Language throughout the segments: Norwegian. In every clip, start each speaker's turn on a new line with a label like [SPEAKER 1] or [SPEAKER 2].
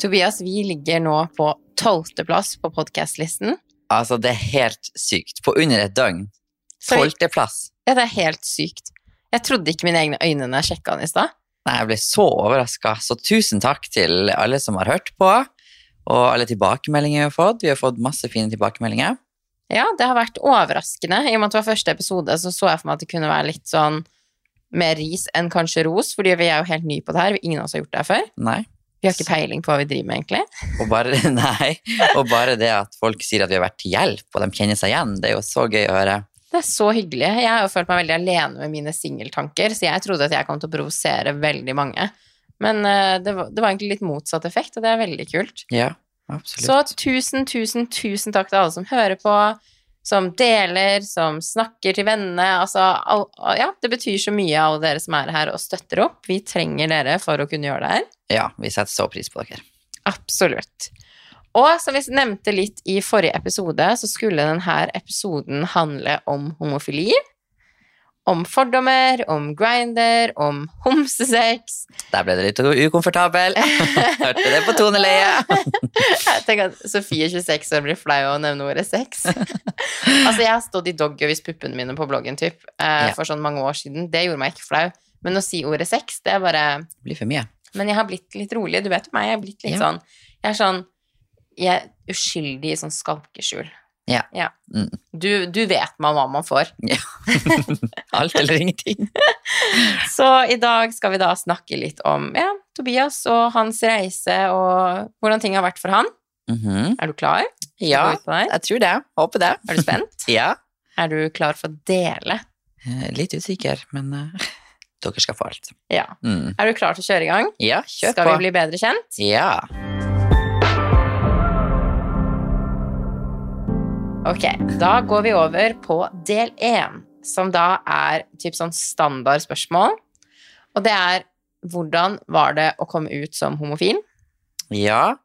[SPEAKER 1] Tobias, vi ligger nå på tolvteplass på podkastlisten.
[SPEAKER 2] Altså, det er helt sykt. På under et døgn. Tolvteplass.
[SPEAKER 1] Ja, det er helt sykt. Jeg trodde ikke mine egne øyne når jeg sjekka den i stad.
[SPEAKER 2] Nei, jeg ble så overraska. Så tusen takk til alle som har hørt på, og alle tilbakemeldinger vi har fått. Vi har fått masse fine tilbakemeldinger.
[SPEAKER 1] Ja, det har vært overraskende. I og med at det var første episode, så så jeg for meg at det kunne være litt sånn mer ris enn kanskje ros, fordi vi er jo helt nye på det her. Ingen av oss har gjort det her før.
[SPEAKER 2] Nei.
[SPEAKER 1] Vi har ikke peiling på hva vi driver med, egentlig.
[SPEAKER 2] Og bare, nei. og bare det at folk sier at vi har vært til hjelp, og de kjenner seg igjen, det er jo så gøy å høre.
[SPEAKER 1] Det er så hyggelig. Jeg har jo følt meg veldig alene med mine singeltanker, så jeg trodde at jeg kom til å provosere veldig mange. Men eh, det var, det var egentlig litt motsatt effekt, og det er veldig kult.
[SPEAKER 2] Ja,
[SPEAKER 1] Så
[SPEAKER 2] absolutt.
[SPEAKER 1] tusen, tusen, tusen takk til alle som hører på, som deler, som snakker til vennene. Altså, all, ja, det betyr så mye, alle dere som er her og støtter opp. Vi trenger dere for å kunne gjøre det her.
[SPEAKER 2] Ja, vi setter så pris på dere.
[SPEAKER 1] Absolutt. Og som vi nevnte litt i forrige episode, så skulle denne episoden handle om homofili. Om fordommer, om grinder, om homsesex.
[SPEAKER 2] Der ble det litt ukomfortabel. Hørte det på toneleiet.
[SPEAKER 1] Jeg tenker at Sofie 26 år blir flau av å nevne ordet sex. altså, jeg har stått i doggyvis puppene mine på bloggen typ, eh,
[SPEAKER 2] Ja.
[SPEAKER 1] for sånn mange år siden. Det gjorde meg ikke flau. Men å si ordet sex, det er bare
[SPEAKER 2] Det blir for mye.
[SPEAKER 1] Men jeg har blitt litt rolig. Du vet meg, jeg har blitt litt
[SPEAKER 2] Ja.
[SPEAKER 1] sånn Jeg er sånn Jeg er uskyldig i sånn skalkeskjul.
[SPEAKER 2] Ja. Mm.
[SPEAKER 1] Du, du vet man hva man får.
[SPEAKER 2] Alt eller ingenting.
[SPEAKER 1] Så i dag skal vi da snakke litt om ja, Tobias og hans reise og hvordan ting har vært for han.
[SPEAKER 2] Mhm.
[SPEAKER 1] Er du klar? Skal
[SPEAKER 2] Ja,
[SPEAKER 1] vi gå ut på det her?
[SPEAKER 2] jeg tror det. Håper det.
[SPEAKER 1] Er du spent?
[SPEAKER 2] Ja.
[SPEAKER 1] er du klar for å dele?
[SPEAKER 2] Eh, Litt usikker, men eh, dere skal få alt.
[SPEAKER 1] Ja.
[SPEAKER 2] Mm.
[SPEAKER 1] Er du klar til å kjøre i gang?
[SPEAKER 2] Ja, kjør
[SPEAKER 1] skal
[SPEAKER 2] på.
[SPEAKER 1] vi bli bedre kjent?
[SPEAKER 2] Ja.
[SPEAKER 1] Ok, da går vi over på del 1, som da er typ sånn standard spørsmål. Og det er hvordan var det å komme ut som homofil?
[SPEAKER 2] Ja,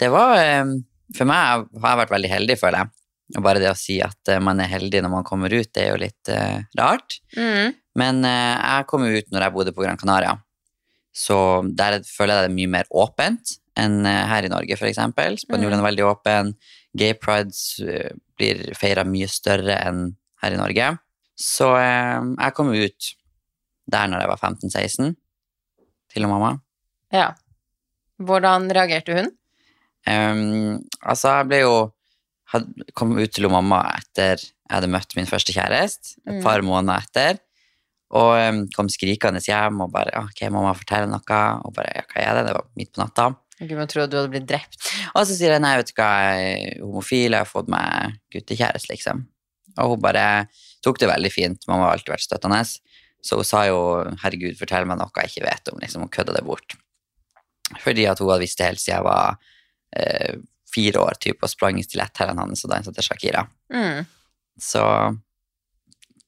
[SPEAKER 2] det var eh, For meg har jeg vært veldig heldig, føler jeg. Og bare det å si at eh, man er heldig når man kommer ut, det er jo litt eh, rart.
[SPEAKER 1] Mm.
[SPEAKER 2] Men eh, jeg kom jo ut når jeg bodde på Gran Canaria. Så der føler jeg det er mye mer åpent enn eh, her i Norge, for eksempel. Spanjolen er veldig åpen. Gay prides eh, blir feira mye større enn her i Norge. Så eh, jeg kom jo ut der når jeg var 15-16, til og mamma.
[SPEAKER 1] Ja. Hvordan reagerte hun?
[SPEAKER 2] Ehm, altså, jeg ble jo had, kom ut til mamma etter jeg hadde møtt min første kjæreste, et
[SPEAKER 1] Mm.
[SPEAKER 2] par måneder etter, og ehm, kom skrikende hjem og bare, ok, mamma forteller noe, og bare, ja, hva er det? Det var midt på natta.
[SPEAKER 1] Gud, man trodde du hadde blitt drept.
[SPEAKER 2] Og så sier jeg, nei, vet du hva, jeg er homofil, jeg har fått meg guttekjæreste, liksom. Og hun bare tok det veldig fint, mamma har alltid vært støttende. Så hun sa jo, herregud, fortell meg noe jeg ikke vet om, liksom, hun kødda det bort. Fordi at hun hadde visst det helt siden jeg var eh, fire år, typ, og sprang i stiletthæren hans og dansa til Shakira.
[SPEAKER 1] Mm.
[SPEAKER 2] Så,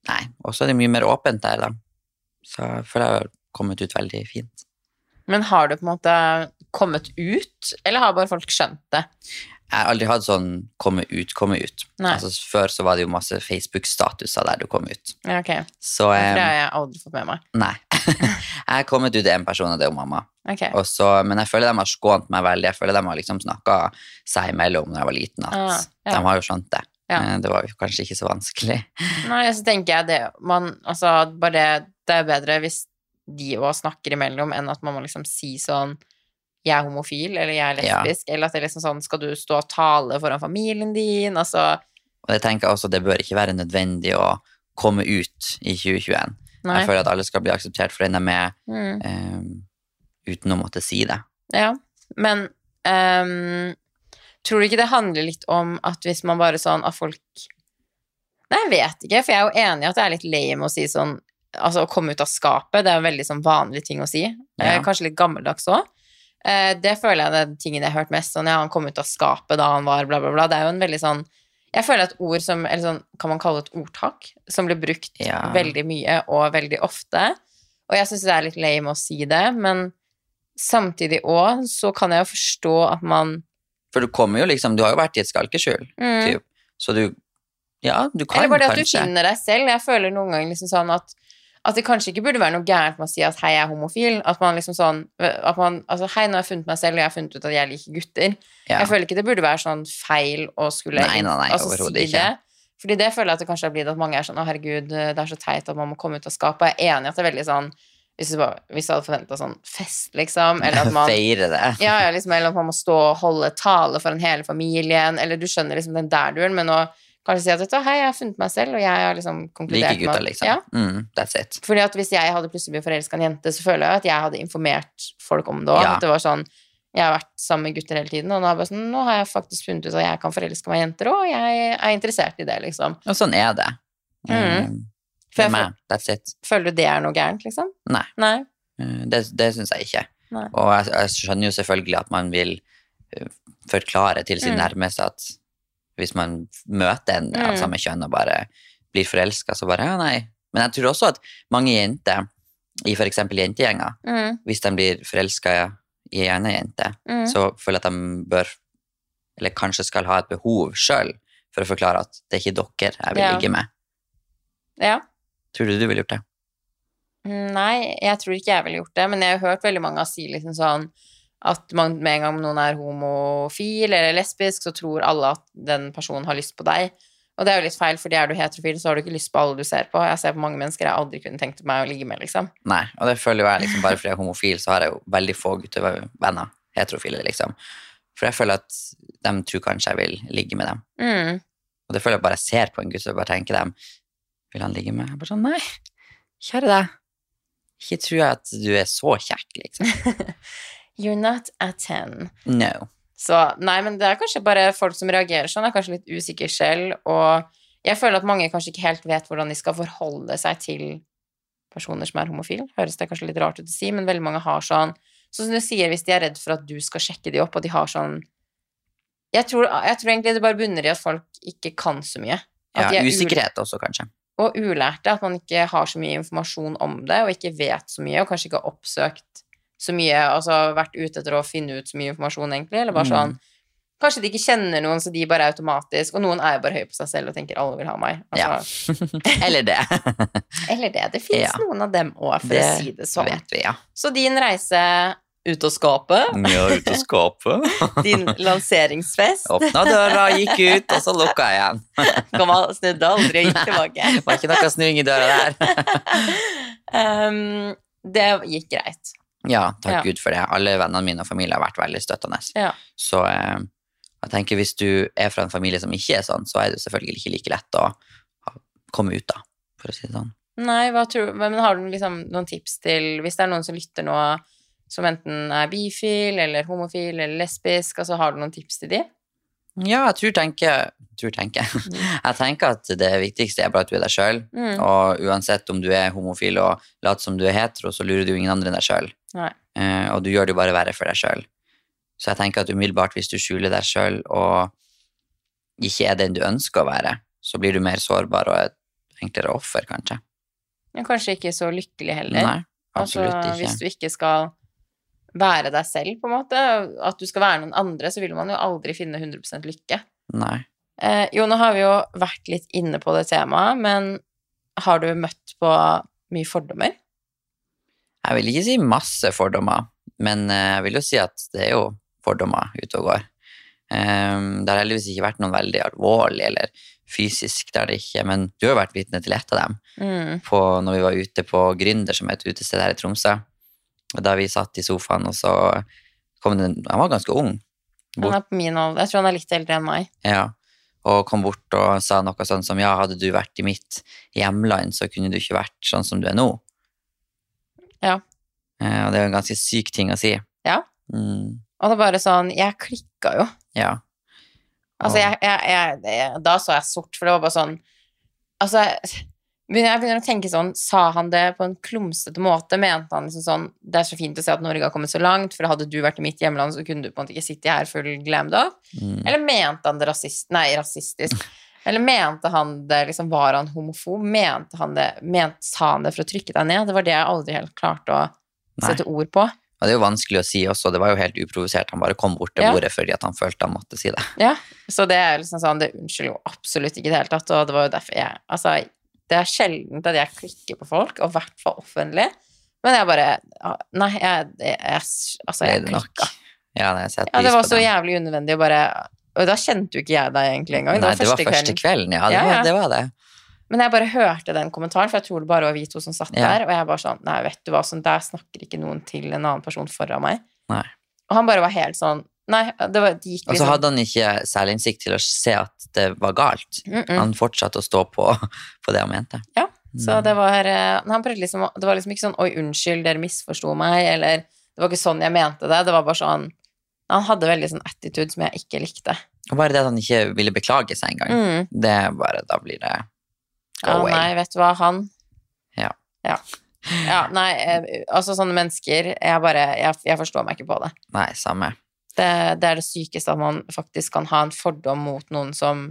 [SPEAKER 2] nei, og så er det mye mer åpent der, da. Så jeg føler jeg har kommet ut veldig fint.
[SPEAKER 1] Men har du på en måte kommet ut, eller har bare folk skjønt det?
[SPEAKER 2] Jeg har aldri hatt sånn komme ut, komme ut.
[SPEAKER 1] Nei.
[SPEAKER 2] Altså, før så var det jo masse Facebook-statuser der du kom ut.
[SPEAKER 1] Ja, Ok, Um,
[SPEAKER 2] Så
[SPEAKER 1] For det
[SPEAKER 2] eh,
[SPEAKER 1] har jeg aldri fått med meg.
[SPEAKER 2] nei. jeg har kommet ut til én person, og det er jo mamma.
[SPEAKER 1] Ok,
[SPEAKER 2] Og så- men jeg føler de har skånt meg veldig. Jeg føler de har liksom snakka seg imellom da jeg var liten, at
[SPEAKER 1] Ah, ja.
[SPEAKER 2] de har jo skjønt det.
[SPEAKER 1] Ja.
[SPEAKER 2] Eh, Det var jo kanskje ikke så vanskelig.
[SPEAKER 1] Nei, så tenker jeg det, man, altså, bare det, det er bedre hvis de også snakker imellom, enn at man må liksom si sånn, jeg er homofil, eller jeg er
[SPEAKER 2] Ja.
[SPEAKER 1] lesbisk, eller at det er liksom sånn, skal du stå og tale foran familien din, altså,
[SPEAKER 2] Og jeg tenker også det bør ikke være nødvendig å komme ut i 2021.
[SPEAKER 1] nei.
[SPEAKER 2] Jeg føler at alle skal bli akseptert for den de er,
[SPEAKER 1] Mm.
[SPEAKER 2] eh, uten å måtte si det.
[SPEAKER 1] Ja, men ehm, tror du ikke det handler litt om at hvis man bare sånn at folk Nei, jeg vet ikke, for jeg er jo enig i at det er litt lame å si sånn Altså å komme ut av skapet, det er en veldig sånn vanlig ting å si. Eh,
[SPEAKER 2] Ja.
[SPEAKER 1] kanskje litt gammeldags òg. Eh, det føler jeg er den tingen jeg har hørt mest. Sånn ja, han kom ut av skapet da han var bla, bla, bla. Det er jo en veldig sånn Jeg føler at ord som Eller sånn, kan man kalle det et ordtak? Som blir brukt
[SPEAKER 2] Ja.
[SPEAKER 1] veldig mye og veldig ofte. Og jeg syns det er litt lame å si det, men samtidig òg så kan jeg jo forstå at man
[SPEAKER 2] For du kommer jo liksom, du har jo vært i et skalkeskjul.
[SPEAKER 1] mm,
[SPEAKER 2] typ. Så du Ja, du kan
[SPEAKER 1] Eller bare det at du
[SPEAKER 2] kanskje.
[SPEAKER 1] finner deg selv. Jeg føler noen ganger liksom sånn at at det kanskje ikke burde være noe gærent med å si at hei, jeg er homofil. At man liksom sånn at man, altså, Hei, nå har jeg funnet meg selv, og jeg har funnet ut at jeg liker gutter.
[SPEAKER 2] Ja.
[SPEAKER 1] Jeg føler ikke det burde være sånn feil å skulle
[SPEAKER 2] Nei, nei, nei,
[SPEAKER 1] altså,
[SPEAKER 2] overhodet ikke.
[SPEAKER 1] det. Fordi det føler jeg at det kanskje har blitt at mange er sånn å herregud, det er så teit at man må komme ut av skapet. Og Jeg er enig i at det er veldig sånn Hvis du, bare, hvis du hadde forventa sånn fest, liksom, eller at man
[SPEAKER 2] Feire det.
[SPEAKER 1] ja, ja, liksom, eller at man må stå og holde tale foran hele familien, eller du skjønner liksom den der duren, men å kanskje si at vet du, hva, hei, jeg har funnet meg selv, og jeg har liksom
[SPEAKER 2] Like
[SPEAKER 1] konkludert med
[SPEAKER 2] gutta,
[SPEAKER 1] at-
[SPEAKER 2] liksom.
[SPEAKER 1] Ja,
[SPEAKER 2] Mm, that's it.
[SPEAKER 1] fordi at hvis jeg hadde plutselig blitt forelska i en jente, så føler jeg at jeg hadde informert folk om det òg.
[SPEAKER 2] Ja.
[SPEAKER 1] At det var sånn Jeg har vært sammen med gutter hele tiden, og nå, er jeg bare sånn, nå har jeg faktisk funnet ut at jeg kan forelske meg i jenter òg, og jeg er interessert i det, liksom.
[SPEAKER 2] Og sånn er det.
[SPEAKER 1] Mm.
[SPEAKER 2] Mm.
[SPEAKER 1] For
[SPEAKER 2] For
[SPEAKER 1] jeg
[SPEAKER 2] meg, that's it.
[SPEAKER 1] Føler du det er noe gærent, liksom?
[SPEAKER 2] Nei.
[SPEAKER 1] Nei.
[SPEAKER 2] Eh, Det, det syns jeg ikke.
[SPEAKER 1] Nei.
[SPEAKER 2] Og jeg, jeg skjønner jo selvfølgelig at man vil eh, forklare til sin
[SPEAKER 1] Mm.
[SPEAKER 2] nærmeste at hvis man møter en av
[SPEAKER 1] Mm.
[SPEAKER 2] samme kjønn og bare blir forelska, så bare ja, nei. Men jeg tror også at mange jenter i f.eks. jentegjenger,
[SPEAKER 1] Mm,
[SPEAKER 2] hvis de blir forelska i ei anna jente,
[SPEAKER 1] mm,
[SPEAKER 2] så føler jeg at de bør, eller kanskje skal ha et behov sjøl for å forklare at det er ikke dere jeg vil
[SPEAKER 1] Ja.
[SPEAKER 2] ligge med.
[SPEAKER 1] ja.
[SPEAKER 2] Tror du du ville gjort det?
[SPEAKER 1] Mm, Nei, jeg tror ikke jeg ville gjort det, men jeg har hørt veldig mange si liksom sånn at man, med en gang noen er homofil eller lesbisk, så tror alle at den personen har lyst på deg. Og det er jo litt feil, fordi er du heterofil, så har du ikke lyst på alle du ser på. Jeg ser på mange mennesker jeg aldri kunne tenkt meg å ligge med, liksom.
[SPEAKER 2] Nei, og det føler jo jeg liksom bare fordi jeg er homofil, så har jeg jo veldig få guttevenner, heterofile, liksom. For jeg føler at de tror kanskje jeg vil ligge med dem.
[SPEAKER 1] Mm.
[SPEAKER 2] Og det føler jeg bare jeg ser på en gutt og bare tenker dem, vil han ligge med? Jeg bare sånn, nei, kjære deg. Ikke tror jeg at du er så kjekk, liksom.
[SPEAKER 1] You're not a ten.
[SPEAKER 2] No.
[SPEAKER 1] Så nei, men det er kanskje bare folk som reagerer sånn, er kanskje litt usikre selv, og jeg føler at mange kanskje ikke helt vet hvordan de skal forholde seg til personer som er homofile. Høres det kanskje litt rart ut å si, men veldig mange har sånn Sånn som du sier, hvis de er redd for at du skal sjekke de opp, og de har sånn Jeg tror, jeg tror egentlig det bare bunner i at folk ikke kan så mye. At
[SPEAKER 2] Ja,
[SPEAKER 1] de er ul-
[SPEAKER 2] usikkerhet også, kanskje.
[SPEAKER 1] og ulærte, at man ikke har så mye informasjon om det, og ikke vet så mye, og kanskje ikke har oppsøkt så mye, altså vært ute etter å finne ut så mye informasjon, egentlig, eller bare
[SPEAKER 2] Mm.
[SPEAKER 1] sånn Kanskje de ikke kjenner noen, så de bare er automatisk Og noen er jo bare høye på seg selv og tenker 'alle vil ha meg'. Altså,
[SPEAKER 2] Eller det.
[SPEAKER 1] Eller det. Det fins
[SPEAKER 2] Ja.
[SPEAKER 1] noen av dem òg, for å
[SPEAKER 2] Det
[SPEAKER 1] si det
[SPEAKER 2] Så
[SPEAKER 1] sånn.
[SPEAKER 2] vet vi, ja.
[SPEAKER 1] Så din reise ut av skapet,
[SPEAKER 2] Mye ut og skåpe.
[SPEAKER 1] din lanseringsfest
[SPEAKER 2] Åpna døra, gikk ut, og så lukka jeg igjen.
[SPEAKER 1] Kom og snudde aldri og gikk tilbake.
[SPEAKER 2] Det var ikke noe snuing i døra der.
[SPEAKER 1] Um, det gikk greit.
[SPEAKER 2] Ja, takk
[SPEAKER 1] Ja.
[SPEAKER 2] Gud for det. Alle vennene mine og familie har vært veldig støttende.
[SPEAKER 1] Ja.
[SPEAKER 2] Så eh, jeg tenker hvis du er fra en familie som ikke er sånn, så er det jo selvfølgelig ikke like lett å ha- komme ut da, for å si det sånn.
[SPEAKER 1] Nei, hva tror, men har du liksom noen tips til Hvis det er noen som lytter nå, som enten er bifil eller homofil eller lesbisk, altså har du noen tips til de?
[SPEAKER 2] Ja, jeg tror tenker, tror tenker. Jeg tenker at det viktigste er bare at du er deg sjøl.
[SPEAKER 1] Mm.
[SPEAKER 2] Og uansett om du er homofil og lat som du er hetero, så lurer du ingen andre enn deg sjøl.
[SPEAKER 1] Nei.
[SPEAKER 2] Eh, og du gjør det jo bare verre for deg sjøl. Så jeg tenker at umiddelbart hvis du skjuler deg sjøl og ikke er den du ønsker å være, så blir du mer sårbar og et enklere offer, kanskje.
[SPEAKER 1] Men kanskje ikke så lykkelig heller.
[SPEAKER 2] Nei, absolutt
[SPEAKER 1] altså,
[SPEAKER 2] ikke.
[SPEAKER 1] Hvis du ikke skal være deg selv, på en måte, at du skal være noen andre, så vil man jo aldri finne 100 lykke.
[SPEAKER 2] Nei.
[SPEAKER 1] Eh, jo, nå har vi jo vært litt inne på det temaet, men har du møtt på mye fordommer?
[SPEAKER 2] Jeg vil ikke si masse fordommer, men eh, jeg vil jo si at det er jo fordommer ute og går. Ehm, det har heldigvis ikke vært noen veldig alvorlig eller fysisk, det har det ikke, men du har jo vært vitne til ett av dem.
[SPEAKER 1] Mm.
[SPEAKER 2] på, når vi var ute på Gründer, som er et utested her i Tromsø. Og da vi satt i sofaen, og så kom det en Han var ganske ung.
[SPEAKER 1] Han er på min alder. Jeg tror han er litt eldre enn meg.
[SPEAKER 2] Ja. Og kom bort og sa noe sånn som ja, hadde du vært i mitt hjemland, så kunne du ikke vært sånn som du er nå.
[SPEAKER 1] Ja.
[SPEAKER 2] Eh, og det er jo en ganske syk ting å si.
[SPEAKER 1] Ja.
[SPEAKER 2] Mm,
[SPEAKER 1] Og det er bare sånn Jeg klikka jo.
[SPEAKER 2] ja.
[SPEAKER 1] Altså,
[SPEAKER 2] Og-
[SPEAKER 1] jeg, jeg, jeg, det- da så jeg sort, for det var bare sånn Altså, jeg begynner, jeg begynner å tenke sånn Sa han det på en klumsete måte? Mente han liksom sånn Det er så fint å se at Norge har kommet så langt, for hadde du vært i mitt hjemland, så kunne du på en måte ikke sitte her full glammed up?
[SPEAKER 2] Mm.
[SPEAKER 1] Eller mente han det rasist, nei, rasistisk? Eller mente han det liksom Var han homofob? Mente han det ment, Sa han det for å trykke deg ned? Det var det jeg aldri helt klarte å
[SPEAKER 2] Nei.
[SPEAKER 1] sette ord på.
[SPEAKER 2] Og det er jo vanskelig å si også, det var jo helt uprovosert. Han bare kom bort til
[SPEAKER 1] Ja.
[SPEAKER 2] bordet fordi at han følte han måtte si det.
[SPEAKER 1] Så det er liksom sånn, det unnskylder jo absolutt ikke i det hele tatt, og det var jo derfor jeg Altså, Det er sjelden at jeg klikker på folk, og i hvert fall offentlig. Men jeg bare ah, Nei, jeg, jeg, jeg Altså,
[SPEAKER 2] Ble
[SPEAKER 1] jeg
[SPEAKER 2] det nok?
[SPEAKER 1] klikka.
[SPEAKER 2] Ja, nei, jeg setter
[SPEAKER 1] Ja, det
[SPEAKER 2] pris
[SPEAKER 1] var
[SPEAKER 2] på
[SPEAKER 1] så
[SPEAKER 2] den.
[SPEAKER 1] jævlig unødvendig å bare Og da kjente jo ikke jeg deg egentlig engang.
[SPEAKER 2] Nei, det var første kvelden, ja. Det,
[SPEAKER 1] Ja, ja.
[SPEAKER 2] Var, det var det.
[SPEAKER 1] Men jeg bare hørte den kommentaren, for jeg tror det bare var vi to som satt
[SPEAKER 2] Ja.
[SPEAKER 1] der. Og jeg bare sånn Nei, vet du hva, sånn, der snakker ikke noen til en annen person foran meg.
[SPEAKER 2] Nei.
[SPEAKER 1] Og han bare var helt sånn Nei, det, var, det gikk
[SPEAKER 2] Og
[SPEAKER 1] liksom
[SPEAKER 2] så Altså, hadde han ikke selvinnsikt til å se at det var galt.
[SPEAKER 1] mm -mm.
[SPEAKER 2] Han fortsatte å stå på, på det han mente.
[SPEAKER 1] Ja, Så
[SPEAKER 2] Mm.
[SPEAKER 1] det var eh, Han prøvde liksom å- Det var liksom ikke sånn Oi, unnskyld, dere misforsto meg, eller Det var ikke sånn jeg mente det. Det var bare sånn Han hadde veldig sånn attitude som jeg ikke likte.
[SPEAKER 2] Og bare det at han ikke ville beklage seg engang,
[SPEAKER 1] Mm.
[SPEAKER 2] det er bare Da blir det go
[SPEAKER 1] Ja,
[SPEAKER 2] away.
[SPEAKER 1] nei, vet du hva, han
[SPEAKER 2] Ja.
[SPEAKER 1] Ja, ja nei, eh, altså sånne mennesker Jeg bare Jeg, jeg forstår meg ikke på det.
[SPEAKER 2] Nei, samme.
[SPEAKER 1] det. Det er det sykeste at man faktisk kan ha en fordom mot noen som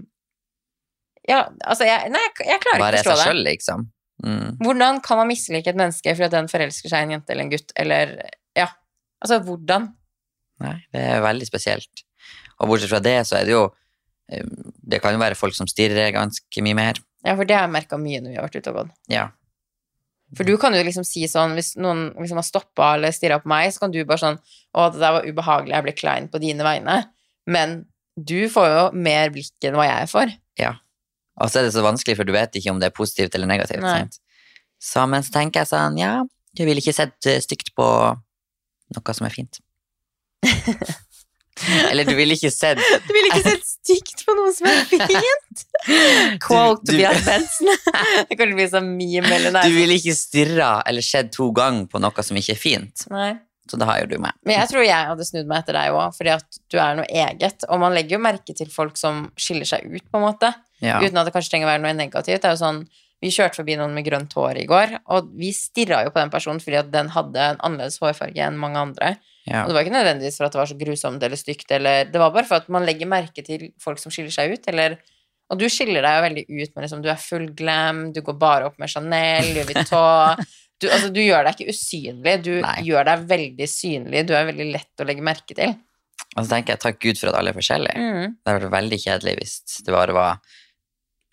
[SPEAKER 1] Ja, altså jeg Nei, jeg, jeg klarer
[SPEAKER 2] Bare
[SPEAKER 1] ikke å
[SPEAKER 2] seg
[SPEAKER 1] forstå det.
[SPEAKER 2] sjøl, liksom. Mm.
[SPEAKER 1] Hvordan kan man mislike et menneske fordi at den forelsker seg i en jente eller en gutt, eller Ja. Altså, hvordan?
[SPEAKER 2] Nei, det er veldig spesielt. Og bortsett fra det, så er det jo eh, Det kan jo være folk som stirrer ganske mye mer.
[SPEAKER 1] Ja, for det har jeg merka mye når vi har vært ute og gått.
[SPEAKER 2] Ja.
[SPEAKER 1] For du kan jo liksom si sånn, hvis noen liksom har stoppa eller stirra på meg, så kan du bare sånn Å, det der var ubehagelig, jeg ble klein på dine vegne. Men du får jo mer blikk enn hva jeg får.
[SPEAKER 2] Og så er det så vanskelig, for du vet ikke om det er positivt eller negativt.
[SPEAKER 1] Nei.
[SPEAKER 2] Sant? Så, men så tenker jeg sånn, ja, du ville ikke sett eh, stygt på noe som er fint. eller du ville ikke sett
[SPEAKER 1] Du ville ikke sett stygt på noen som er fint! Quote
[SPEAKER 2] Du- du-
[SPEAKER 1] Tobias Bensen. Det kan bli sånn meme eller
[SPEAKER 2] Du
[SPEAKER 1] nei.
[SPEAKER 2] ville ikke stirra eller sett to ganger på noe som ikke er fint.
[SPEAKER 1] nei.
[SPEAKER 2] Så da har jo du meg.
[SPEAKER 1] Men jeg tror jeg hadde snudd meg etter deg òg, fordi at du er noe eget. Og man legger jo merke til folk som skiller seg ut, på en måte.
[SPEAKER 2] Ja.
[SPEAKER 1] Uten at det kanskje trenger å være noe negativt. Det er jo sånn, vi kjørte forbi noen med grønt hår i går, og vi stirra jo på den personen fordi at den hadde en annerledes hårfarge enn mange andre.
[SPEAKER 2] Ja.
[SPEAKER 1] Og det var ikke nødvendigvis for at det var så grusomt eller stygt, eller Det var bare for at man legger merke til folk som skiller seg ut, eller Og du skiller deg jo veldig ut med liksom Du er full glam, du går bare opp med Chanel, Louis Vuitton du, altså, du gjør deg ikke usynlig, du
[SPEAKER 2] Nei.
[SPEAKER 1] gjør deg veldig synlig. Du er veldig lett å legge merke til.
[SPEAKER 2] Og så tenker jeg takk Gud for at alle er forskjellige.
[SPEAKER 1] Mm.
[SPEAKER 2] Det hadde vært veldig kjedelig hvis det bare var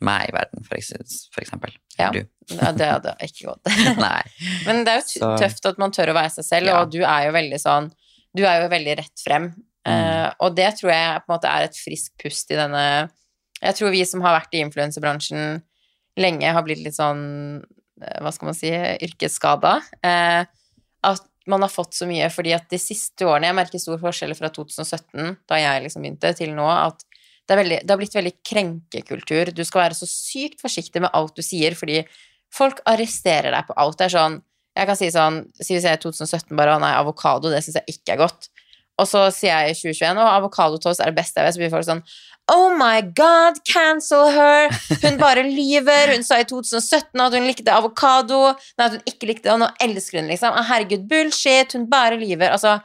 [SPEAKER 2] meg i verden, for eks- for eksempel.
[SPEAKER 1] Ja.
[SPEAKER 2] Du.
[SPEAKER 1] Ja, det hadde ikke gått.
[SPEAKER 2] Nei.
[SPEAKER 1] Men det er jo t-
[SPEAKER 2] Så-
[SPEAKER 1] tøft at man tør å være seg selv,
[SPEAKER 2] Ja.
[SPEAKER 1] og du er jo veldig sånn Du er jo veldig rett frem. Eh, og det tror jeg på en måte er et friskt pust i denne Jeg tror vi som har vært i influensebransjen lenge, har blitt litt sånn eh, Hva skal man si Yrkesskada. Eh, at man har fått så mye fordi at de siste årene Jeg merker stor forskjell fra 2017, da jeg liksom begynte, til nå, at det, er veldig, det har blitt veldig krenkekultur. Du skal være så sykt forsiktig med alt du sier, fordi folk arresterer deg på alt. Det er sånn jeg kan si sånn, si hvis jeg i 2017 bare, «Å nei, avokado, det synes jeg ikke er godt. Og så sier jeg i 2021, og avokadotoast er det beste jeg vet, så blir folk sånn, oh my god, cancel her, hun bare lyver, hun sa i 2017 at hun likte avokado, nei, at hun ikke likte det, og nå elsker hun liksom, «Å, herregud, bullshit, hun bare lyver, altså,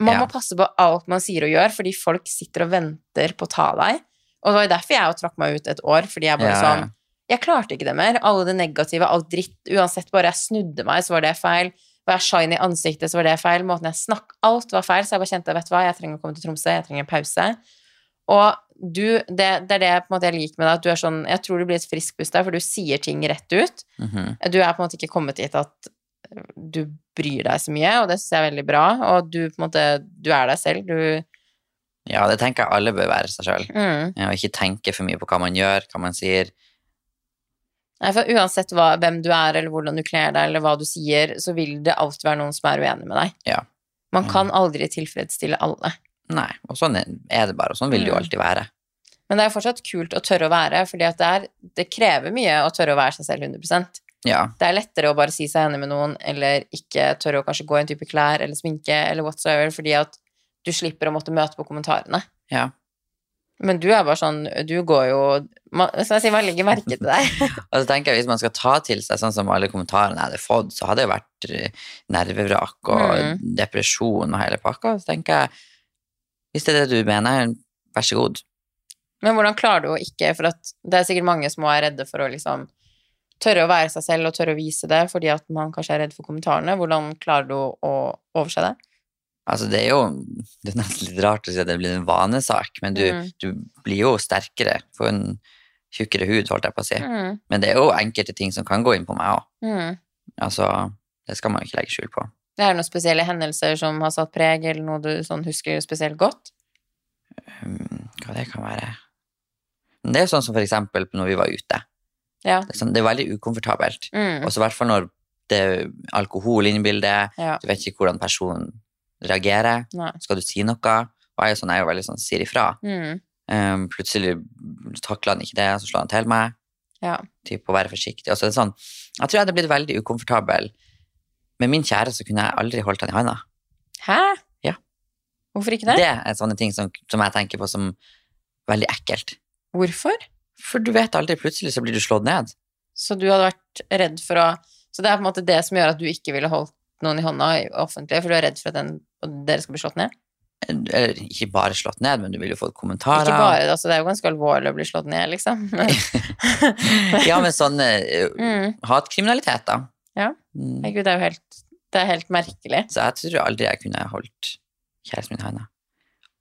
[SPEAKER 1] man
[SPEAKER 2] Ja.
[SPEAKER 1] må passe på alt man sier og gjør, fordi folk sitter og venter på å ta deg, og det var jo derfor jeg jo trakk meg ut et år, fordi jeg bare
[SPEAKER 2] Ja, ja.
[SPEAKER 1] sånn, jeg klarte ikke det mer. Alle det negative, alt dritt. Uansett, bare jeg snudde meg, så var det feil. Var jeg shiny i ansiktet, så var det feil. Måten jeg snakk Alt var feil, så jeg bare kjente vet du hva, jeg trenger å komme til Tromsø, jeg trenger en pause. Og du, det, det er det på en måte jeg liker med deg, at du er sånn Jeg tror du blir et friskpust der, for du sier ting rett ut.
[SPEAKER 2] Mhm.
[SPEAKER 1] Du er på en måte ikke kommet dit at du bryr deg så mye, og det syns jeg er veldig bra. Og du på en måte Du er deg selv. Du
[SPEAKER 2] ja, det tenker jeg alle bør være seg sjøl.
[SPEAKER 1] mm.
[SPEAKER 2] Ja, og ikke tenke for mye på hva man gjør, hva man sier.
[SPEAKER 1] Nei, for uansett hva, hvem du er, eller hvordan du kler deg, eller hva du sier, så vil det alltid være noen som er uenig med deg.
[SPEAKER 2] Ja.
[SPEAKER 1] Man kan aldri tilfredsstille alle.
[SPEAKER 2] Nei, og sånn er det bare, og sånn vil det jo
[SPEAKER 1] Mm.
[SPEAKER 2] alltid være.
[SPEAKER 1] Men det er jo fortsatt kult å tørre å være, fordi at det, er, det krever mye å tørre å være seg selv 100
[SPEAKER 2] Ja,
[SPEAKER 1] Det er lettere å bare si seg enig med noen, eller ikke tørre å kanskje gå i en type klær eller sminke, eller whatsoever, fordi at du slipper å måtte møte på kommentarene.
[SPEAKER 2] ja.
[SPEAKER 1] Men du er bare sånn, du går jo man, Som jeg sier, man legger merke til deg.
[SPEAKER 2] Og så tenker jeg hvis man skal ta til seg sånn som alle kommentarene jeg hadde fått, så hadde det jo vært eh, nervevrak og
[SPEAKER 1] Mm.
[SPEAKER 2] depresjon og hele pakka. Så tenker jeg, hvis det er det du mener, vær så god.
[SPEAKER 1] Men hvordan klarer du å ikke For at det er sikkert mange som også er redde for å liksom tørre å være seg selv og tørre å vise det, fordi at man kanskje er redd for kommentarene. Hvordan klarer du å overse det?
[SPEAKER 2] Altså det er jo det er nesten litt rart å si at det blir en vanesak, men du,
[SPEAKER 1] Mm.
[SPEAKER 2] du blir jo sterkere. For en tjukkere hud, holdt jeg på å si.
[SPEAKER 1] Mm.
[SPEAKER 2] Men det er jo enkelte ting som kan gå inn på meg òg.
[SPEAKER 1] Mm.
[SPEAKER 2] Altså, det skal man jo ikke legge skjul på.
[SPEAKER 1] Det er noen spesielle hendelser som har satt preg, eller noe du sånn husker spesielt godt?
[SPEAKER 2] Hmm, hva det kan være? Men det er jo sånn som for eksempel når vi var ute.
[SPEAKER 1] Ja.
[SPEAKER 2] Det er, sånn, det er veldig ukomfortabelt.
[SPEAKER 1] Mm.
[SPEAKER 2] Også i hvert fall når det er alkohol inne i bildet.
[SPEAKER 1] Ja.
[SPEAKER 2] Du vet ikke hvordan personen reagerer.
[SPEAKER 1] Nei.
[SPEAKER 2] Skal du si noe? Og jeg er jo sånn, jeg er jo veldig sånn, sier ifra.
[SPEAKER 1] Mm.
[SPEAKER 2] Um, plutselig takla han ikke det, så slo han til meg.
[SPEAKER 1] Ja.
[SPEAKER 2] Typ å være forsiktig. Og så er det sånn, jeg tror jeg hadde blitt veldig ukomfortabel. Med min kjære så kunne jeg aldri holdt han i handa.
[SPEAKER 1] Hæ?
[SPEAKER 2] Ja.
[SPEAKER 1] Hvorfor ikke det?
[SPEAKER 2] Det er sånne ting som, som jeg tenker på som veldig ekkelt.
[SPEAKER 1] Hvorfor?
[SPEAKER 2] For du vet aldri, plutselig så blir du slått ned.
[SPEAKER 1] Så du hadde vært redd for å Så det er på en måte det som gjør at du ikke ville holdt noen i hånda i offentlig, for du er redd for at den, og dere skal bli slått ned?
[SPEAKER 2] Eller ikke bare slått ned, men du vil jo få kommentarer.
[SPEAKER 1] Ikke bare, altså det er jo ganske alvorlig å bli slått ned, liksom.
[SPEAKER 2] ja, men sånn eh,
[SPEAKER 1] mm.
[SPEAKER 2] hatkriminalitet, da.
[SPEAKER 1] Ja.
[SPEAKER 2] Mm.
[SPEAKER 1] Herregud, det er jo helt, det er helt merkelig.
[SPEAKER 2] Så jeg tror aldri jeg kunne holdt kjæresten min i handa.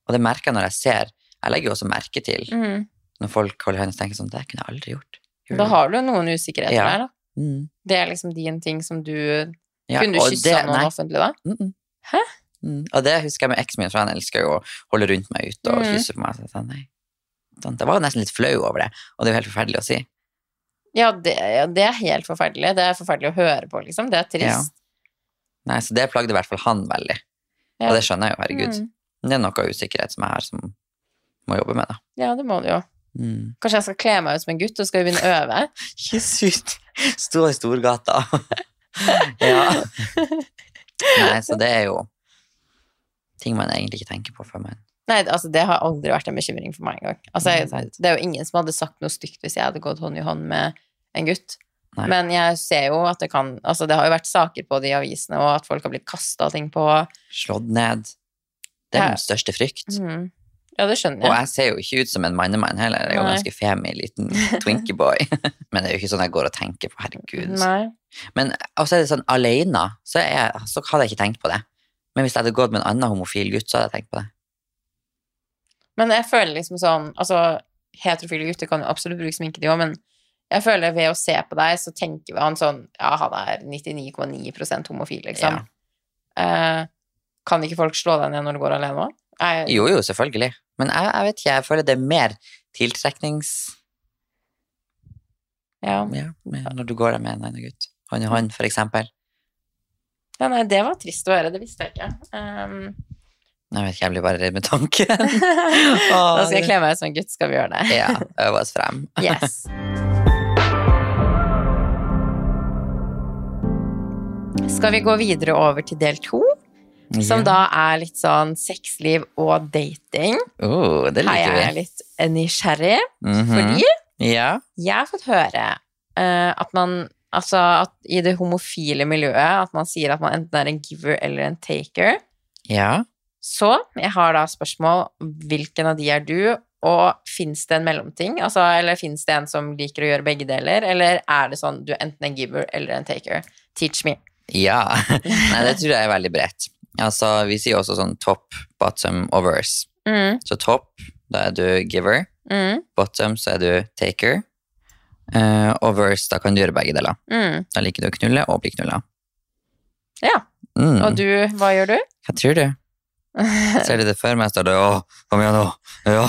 [SPEAKER 2] Og det merker jeg når jeg ser. Jeg legger jo også merke til
[SPEAKER 1] Mm.
[SPEAKER 2] når folk holder handa og tenker sånn Det kunne jeg aldri gjort. Gjorde
[SPEAKER 1] Da
[SPEAKER 2] du?
[SPEAKER 1] har du jo noen usikkerheter
[SPEAKER 2] Ja.
[SPEAKER 1] der, da.
[SPEAKER 2] Mm.
[SPEAKER 1] Det er liksom din ting som du
[SPEAKER 2] Ja,
[SPEAKER 1] Kunne du
[SPEAKER 2] og
[SPEAKER 1] kyssa
[SPEAKER 2] det-
[SPEAKER 1] noen
[SPEAKER 2] nei.
[SPEAKER 1] offentlig da?
[SPEAKER 2] Mm -mm.
[SPEAKER 1] Hæ?
[SPEAKER 2] Mm. Og det husker jeg med eksen min, for han elsker jo å holde rundt meg ute og
[SPEAKER 1] Mm.
[SPEAKER 2] kysse på meg. Så jeg sa nei. Sånn, jeg var jo nesten litt flau over det, og det er jo helt forferdelig å si.
[SPEAKER 1] Ja det, ja, det er helt forferdelig. Det er forferdelig å høre på, liksom. Det er trist.
[SPEAKER 2] Nei, Så det plagde i hvert fall han veldig.
[SPEAKER 1] Ja.
[SPEAKER 2] Og det skjønner jeg jo, herregud.
[SPEAKER 1] Mm.
[SPEAKER 2] Men Det er noe usikkerhet som jeg har som må jobbe med, da.
[SPEAKER 1] Ja, det må du jo.
[SPEAKER 2] Mm.
[SPEAKER 1] Kanskje jeg skal kle meg ut som en gutt, og skal vi begynne å øve?
[SPEAKER 2] Kyss ut! Stå i storgata. ja. Nei, så det er jo ting man egentlig ikke tenker på før man
[SPEAKER 1] Nei, altså det har aldri vært en bekymring for meg engang. Altså,
[SPEAKER 2] Nei,
[SPEAKER 1] jeg-
[SPEAKER 2] sant.
[SPEAKER 1] det er jo ingen som hadde sagt noe stygt hvis jeg hadde gått hånd i hånd med en gutt.
[SPEAKER 2] Nei.
[SPEAKER 1] Men jeg ser jo at det kan Altså, det har jo vært saker på det i avisene, og at folk har blitt kasta ting på.
[SPEAKER 2] slått ned. Det er
[SPEAKER 1] Ja.
[SPEAKER 2] min største frykt.
[SPEAKER 1] Mhm. Ja, det skjønner
[SPEAKER 2] Og
[SPEAKER 1] jeg.
[SPEAKER 2] jeg ser jo ikke ut som en mannemann heller. Jeg er jo
[SPEAKER 1] Nei.
[SPEAKER 2] ganske femi, liten twinkeboy. Men det er jo ikke sånn jeg går og tenker på, herregud.
[SPEAKER 1] Nei.
[SPEAKER 2] Men også er det sånn, alene, så, er jeg, så hadde jeg ikke tenkt på det. Men hvis jeg hadde gått med en annen homofil gutt, så hadde jeg tenkt på det.
[SPEAKER 1] Men jeg føler liksom sånn Altså, heterofile gutter kan jo absolutt bruke sminke, de òg, men jeg føler ved å se på deg, så tenker han sånn Ja, han er 99,9 homofil, liksom. Eh, kan ikke folk slå deg ned når du går alene òg? Jeg-
[SPEAKER 2] Jo, jo, selvfølgelig. Men jeg, jeg vet ikke, jeg føler det er mer tiltreknings...
[SPEAKER 1] Ja.
[SPEAKER 2] Ja, med, når du går der med en annen gutt. Hånd i hånd, for eksempel.
[SPEAKER 1] Ja, nei, det var trist å høre. Det visste jeg ikke. Ehm,
[SPEAKER 2] Jeg vet ikke, jeg blir bare redd med tanken.
[SPEAKER 1] da skal jeg kle meg ut som en gutt, skal vi gjøre det.
[SPEAKER 2] Ja, øve oss frem.
[SPEAKER 1] Yes. Skal vi gå videre over til del to, som da er litt sånn sexliv og dating.
[SPEAKER 2] Oh, det
[SPEAKER 1] Her
[SPEAKER 2] liker
[SPEAKER 1] er
[SPEAKER 2] vi.
[SPEAKER 1] jeg litt nysgjerrig,
[SPEAKER 2] Mhm.
[SPEAKER 1] fordi
[SPEAKER 2] Ja.
[SPEAKER 1] jeg har fått høre eh, at man Altså at i det homofile miljøet at man sier at man enten er en giver eller en taker.
[SPEAKER 2] Ja.
[SPEAKER 1] Så jeg har da spørsmål hvilken av de er du, og fins det en mellomting? Altså, eller fins det en som liker å gjøre begge deler, eller er det sånn du er enten en giver eller en taker? Teach me.
[SPEAKER 2] Ja. Nei, det tror jeg er veldig bredt. Altså, vi sier også sånn top, bottom og verse.
[SPEAKER 1] Mm,
[SPEAKER 2] Så top, da er du giver.
[SPEAKER 1] mm,
[SPEAKER 2] Bottom, så er du taker. Eh, og verse, da kan du gjøre begge deler.
[SPEAKER 1] mm.
[SPEAKER 2] Da liker du å knulle og bli knulla.
[SPEAKER 1] Ja.
[SPEAKER 2] Mm.
[SPEAKER 1] Og du, hva gjør du?
[SPEAKER 2] Hva tror du? Ser du det for meg, står det å, kom igjen nå, ja.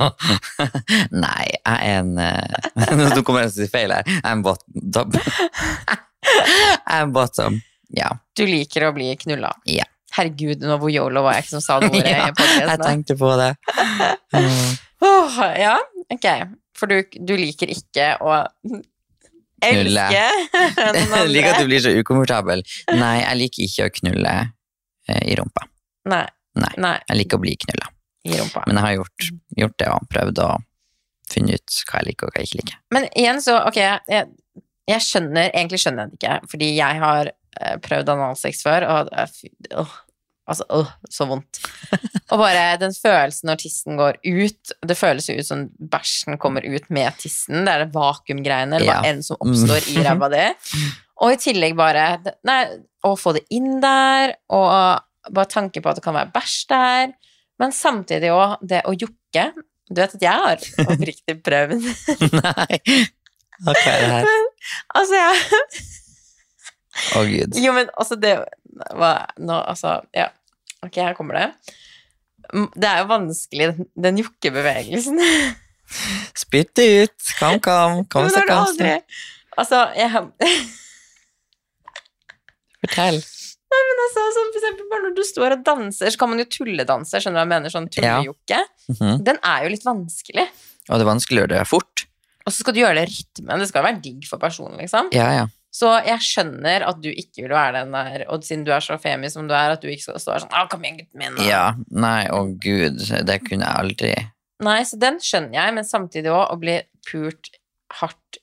[SPEAKER 2] Nei, jeg er en eh, Nå kommer jeg til å si feil her. Jeg er en bottom. Jeg er en bottom. Ja.
[SPEAKER 1] Du liker å bli knulla.
[SPEAKER 2] Ja.
[SPEAKER 1] Herregud, nå hvor yolo var jeg ikke som sa det ordet
[SPEAKER 2] Ja,
[SPEAKER 1] i podcasten.
[SPEAKER 2] Jeg tenkte på det. Mm.
[SPEAKER 1] Åh, ja, ok. For du, du liker ikke å
[SPEAKER 2] Knulle.
[SPEAKER 1] elske noen
[SPEAKER 2] Jeg liker at
[SPEAKER 1] andre.
[SPEAKER 2] du blir så ukomfortabel. Nei, jeg liker ikke å knulle eh, i rumpa.
[SPEAKER 1] Nei.
[SPEAKER 2] Nei.
[SPEAKER 1] Nei,
[SPEAKER 2] Jeg liker å bli knulla.
[SPEAKER 1] i rumpa.
[SPEAKER 2] Men jeg har gjort,
[SPEAKER 1] Mm.
[SPEAKER 2] gjort det og prøvd å finne ut hva jeg liker og hva jeg ikke liker.
[SPEAKER 1] Men igjen så, ok, jeg, jeg skjønner, egentlig skjønner jeg det ikke, fordi jeg har eh, prøvd analsex før, og eh, fy, åh, altså, åh, så vondt. Og bare den følelsen når tissen går ut, det føles jo ut som bæsjen kommer ut med tissen, det er det vakuumgreiene, eller
[SPEAKER 2] Ja.
[SPEAKER 1] hva enn som oppstår i ræva di. Og i tillegg bare, nei, å få det inn der, og bare tanke på at det kan være bæsj der, men samtidig også det å jukke, Du vet at jeg har oppriktig prøvd.
[SPEAKER 2] Nei. Ok, det her.
[SPEAKER 1] altså, jeg
[SPEAKER 2] Å, gud.
[SPEAKER 1] Jo, men altså, det var Nå, altså Ja. Ok, her kommer det. M- Det er jo vanskelig, den, den jokkebevegelsen.
[SPEAKER 2] Spytt det ut. Kam, kam. Kom,
[SPEAKER 1] Men
[SPEAKER 2] så
[SPEAKER 1] har du
[SPEAKER 2] kam.
[SPEAKER 1] aldri Altså, jeg har
[SPEAKER 2] Fortell.
[SPEAKER 1] altså, sånn, For eksempel bare når du står og danser, så kan man jo tulledanse. Skjønner du hva jeg mener? Sånn
[SPEAKER 2] Ja.
[SPEAKER 1] tullejokke.
[SPEAKER 2] Mhm.
[SPEAKER 1] Den er jo litt vanskelig.
[SPEAKER 2] Og det er vanskelig å gjøre det fort.
[SPEAKER 1] Og så skal du gjøre det i rytmen. Det skal være digg for personen, liksom.
[SPEAKER 2] Ja, ja.
[SPEAKER 1] Så jeg skjønner at du ikke vil være den der, og siden du er så femi som du er, at du ikke skal stå her sånn Å, kom igjen, gutten min.
[SPEAKER 2] Ja. Nei, å gud. Det kunne jeg aldri
[SPEAKER 1] Nei, så den skjønner jeg, men samtidig òg å bli pult hardt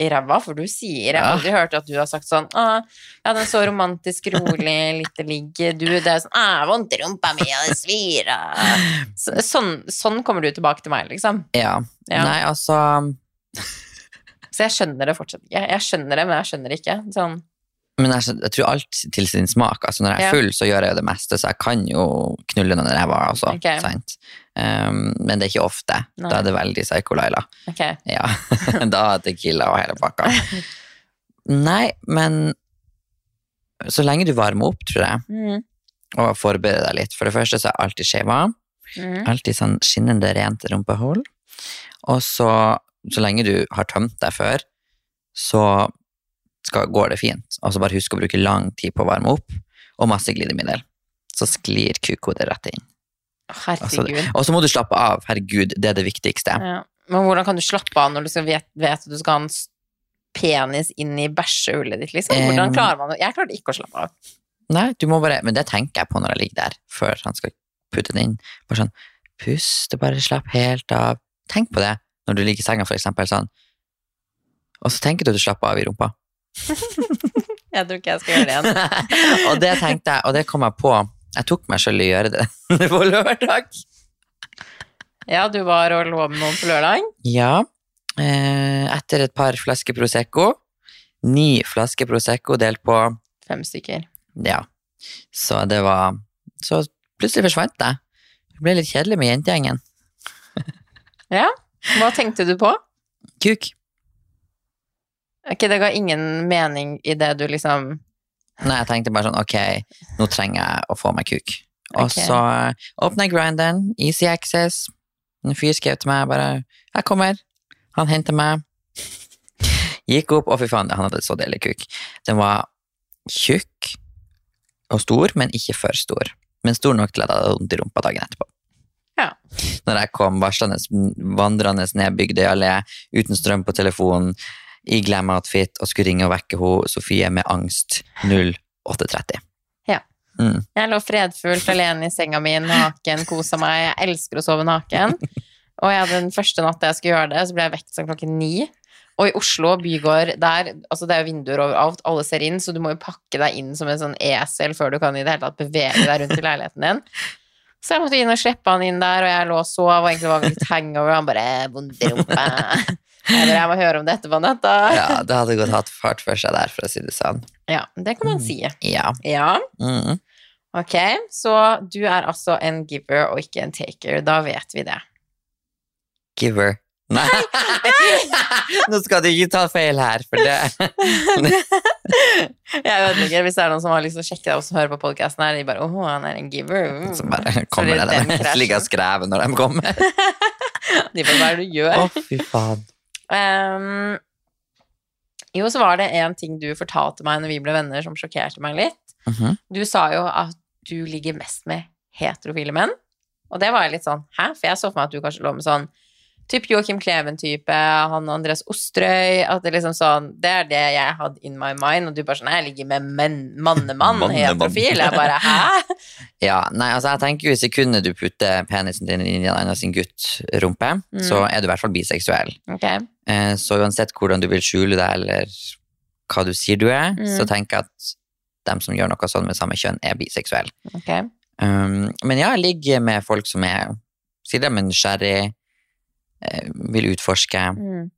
[SPEAKER 1] i ræva, for du sier Jeg har
[SPEAKER 2] Ja.
[SPEAKER 1] aldri hørt at du har sagt sånn Å, ja, den er så romantisk rolig, litt ligg Du, det er sånn Æ, vondt i rumpa mi, og det svir og». så, sånn, sånn kommer du tilbake til meg, liksom.
[SPEAKER 2] Ja.
[SPEAKER 1] Ja.
[SPEAKER 2] Nei, altså
[SPEAKER 1] Så jeg skjønner det fortsatt ikke. Jeg skjønner det, men jeg skjønner det ikke. Sånn
[SPEAKER 2] Men jeg, skjønner- jeg tror alt til sin smak. Altså, når jeg
[SPEAKER 1] Ja.
[SPEAKER 2] er full, så gjør jeg jo det meste, så jeg kan jo knulle noen i ræva. Altså,
[SPEAKER 1] Ok.
[SPEAKER 2] sant? Um, men det er ikke ofte.
[SPEAKER 1] Nei.
[SPEAKER 2] Da er det veldig Psycho-Laila.
[SPEAKER 1] Ok.
[SPEAKER 2] Ja. da er Tequila og hele pakka. Nei, men så lenge du varmer opp, tror jeg,
[SPEAKER 1] Mm.
[SPEAKER 2] og forbereder deg litt For det første så er jeg alltid skeiva.
[SPEAKER 1] Mm.
[SPEAKER 2] Alltid sånn skinnende rent rumpehull. Og så, så lenge du har tømt deg før, så skal, går det fint. Og så bare husk å bruke lang tid på å varme opp, og masse glidemiddel. Så sklir kukhodet rett inn. Altså,
[SPEAKER 1] Herregud.
[SPEAKER 2] Og så må du slappe av. Herregud, det er det viktigste.
[SPEAKER 1] Ja. Men hvordan kan du slappe av når du skal vet, vet at du skal ha en s- penis inn i bæsjehullet ditt, liksom? Hvordan
[SPEAKER 2] Em.
[SPEAKER 1] klarer man det? Jeg klarte ikke å slappe av.
[SPEAKER 2] Nei, du må bare, men det tenker jeg på når jeg ligger der, før han skal putte den inn. Bare sånn, pust, og bare slapp helt av. Tenk på det når du ligger i senga, for eksempel. Sånn. Og så tenker du at du slapper av i rumpa.
[SPEAKER 1] Jeg tror ikke jeg skal gjøre det igjen.
[SPEAKER 2] og det tenkte jeg, og det kom jeg på. Jeg tok meg selv i å gjøre det på lørdag.
[SPEAKER 1] Ja, du var og lå med noen på lørdag.
[SPEAKER 2] Ja, eh, etter et par flasker Prosecco, ni flasker Prosecco delt på,
[SPEAKER 1] Fem stykker.
[SPEAKER 2] ja, så det var, så plutselig forsvant jeg. Det ble litt kjedelig med jentegjengen.
[SPEAKER 1] Hva tenkte du på?
[SPEAKER 2] Kuk.
[SPEAKER 1] Ok, det ga ingen mening i det du liksom
[SPEAKER 2] Nei, jeg tenkte bare sånn, ok, nå trenger jeg å få meg kuk. Og
[SPEAKER 1] Ok.
[SPEAKER 2] så åpnet jeg grinderen, easy access. En fyr skrev til meg bare, jeg kommer. Han hentet meg. Gikk opp, og fy faen, han hadde så deilig kuk. Den var tjukk og stor, men ikke for stor. Men stor nok til at jeg hadde vondt i rumpa dagen etterpå.
[SPEAKER 1] Ja.
[SPEAKER 2] Når jeg kom varslende, vandrende ned Bygdøy allé, uten strøm på telefonen, i glam-outfit, og skulle ringe og vekke henne, Sofie, med angst 08.30.
[SPEAKER 1] Ja.
[SPEAKER 2] Mm.
[SPEAKER 1] Jeg lå fredfullt alene i senga mi, naken, kosa meg. Jeg elsker å sove naken. Og jeg hadde den første natta jeg skulle gjøre det, så ble jeg vekt sånn klokken ni. Og i Oslo bygård, der, altså det er jo vinduer overalt, alle ser inn, så du må jo pakke deg inn som en sånn esel før du kan i det hele tatt bevege deg rundt i leiligheten din. Så jeg måtte inn og slippe han inn der, og jeg lå og sov, og egentlig var vi litt hangover, og han bare «Eh, vondt i rumpa. Eller jeg må høre om det etterpå natta.
[SPEAKER 2] ja, det hadde gått hatt fart for seg der, for å si det sånn.
[SPEAKER 1] Ja, det kan man si.
[SPEAKER 2] Ja.
[SPEAKER 1] Ja.
[SPEAKER 2] Mm.
[SPEAKER 1] Ok, så du er altså en giver og ikke en taker. Da vet vi det.
[SPEAKER 2] Giver. Nei! Nå skal du ikke ta feil her, for det
[SPEAKER 1] Jeg ødelegger hvis det er noen som har lyst til å sjekke deg og som hører på podkasten her. De bare 'Å, han er en giver'. Mm.
[SPEAKER 2] Så bare
[SPEAKER 1] Så
[SPEAKER 2] kommer
[SPEAKER 1] det er
[SPEAKER 2] det
[SPEAKER 1] den
[SPEAKER 2] der
[SPEAKER 1] krasjen.
[SPEAKER 2] slik jeg skrev når de kommer.
[SPEAKER 1] De bare 'Hva er det du gjør?'
[SPEAKER 2] Å, fy faen.
[SPEAKER 1] Ehm, jo, så var det en ting du fortalte meg når vi ble venner, som sjokkerte meg litt.
[SPEAKER 2] Mhm.
[SPEAKER 1] Du sa jo at du ligger mest med heterofile menn. Og det var jeg litt sånn Hæ? For jeg så for meg at du kanskje lå med sånn typ Joakim Kleven-type, han Andreas Osterøy At det liksom sånn Det er det jeg hadde in my mind, og du bare sånn Nei, jeg ligger med menn, mannemann,
[SPEAKER 2] Mannemann.
[SPEAKER 1] heterofil. Jeg bare Hæ?
[SPEAKER 2] Ja, nei, altså jeg tenker jo i sekundet du putter penisen din inn i en annen sin gutt rumpe,
[SPEAKER 1] Mm.
[SPEAKER 2] så er du i hvert fall biseksuell.
[SPEAKER 1] Ok.
[SPEAKER 2] Eh, Så uansett hvordan du vil skjule deg, eller hva du sier du er,
[SPEAKER 1] Mm.
[SPEAKER 2] så tenker jeg at dem som gjør noe sånn med samme kjønn, er biseksuelle.
[SPEAKER 1] ok.
[SPEAKER 2] Um, men ja, jeg ligger med folk som er Sier de er nysgjerrig, eh, vil utforske.
[SPEAKER 1] Mm.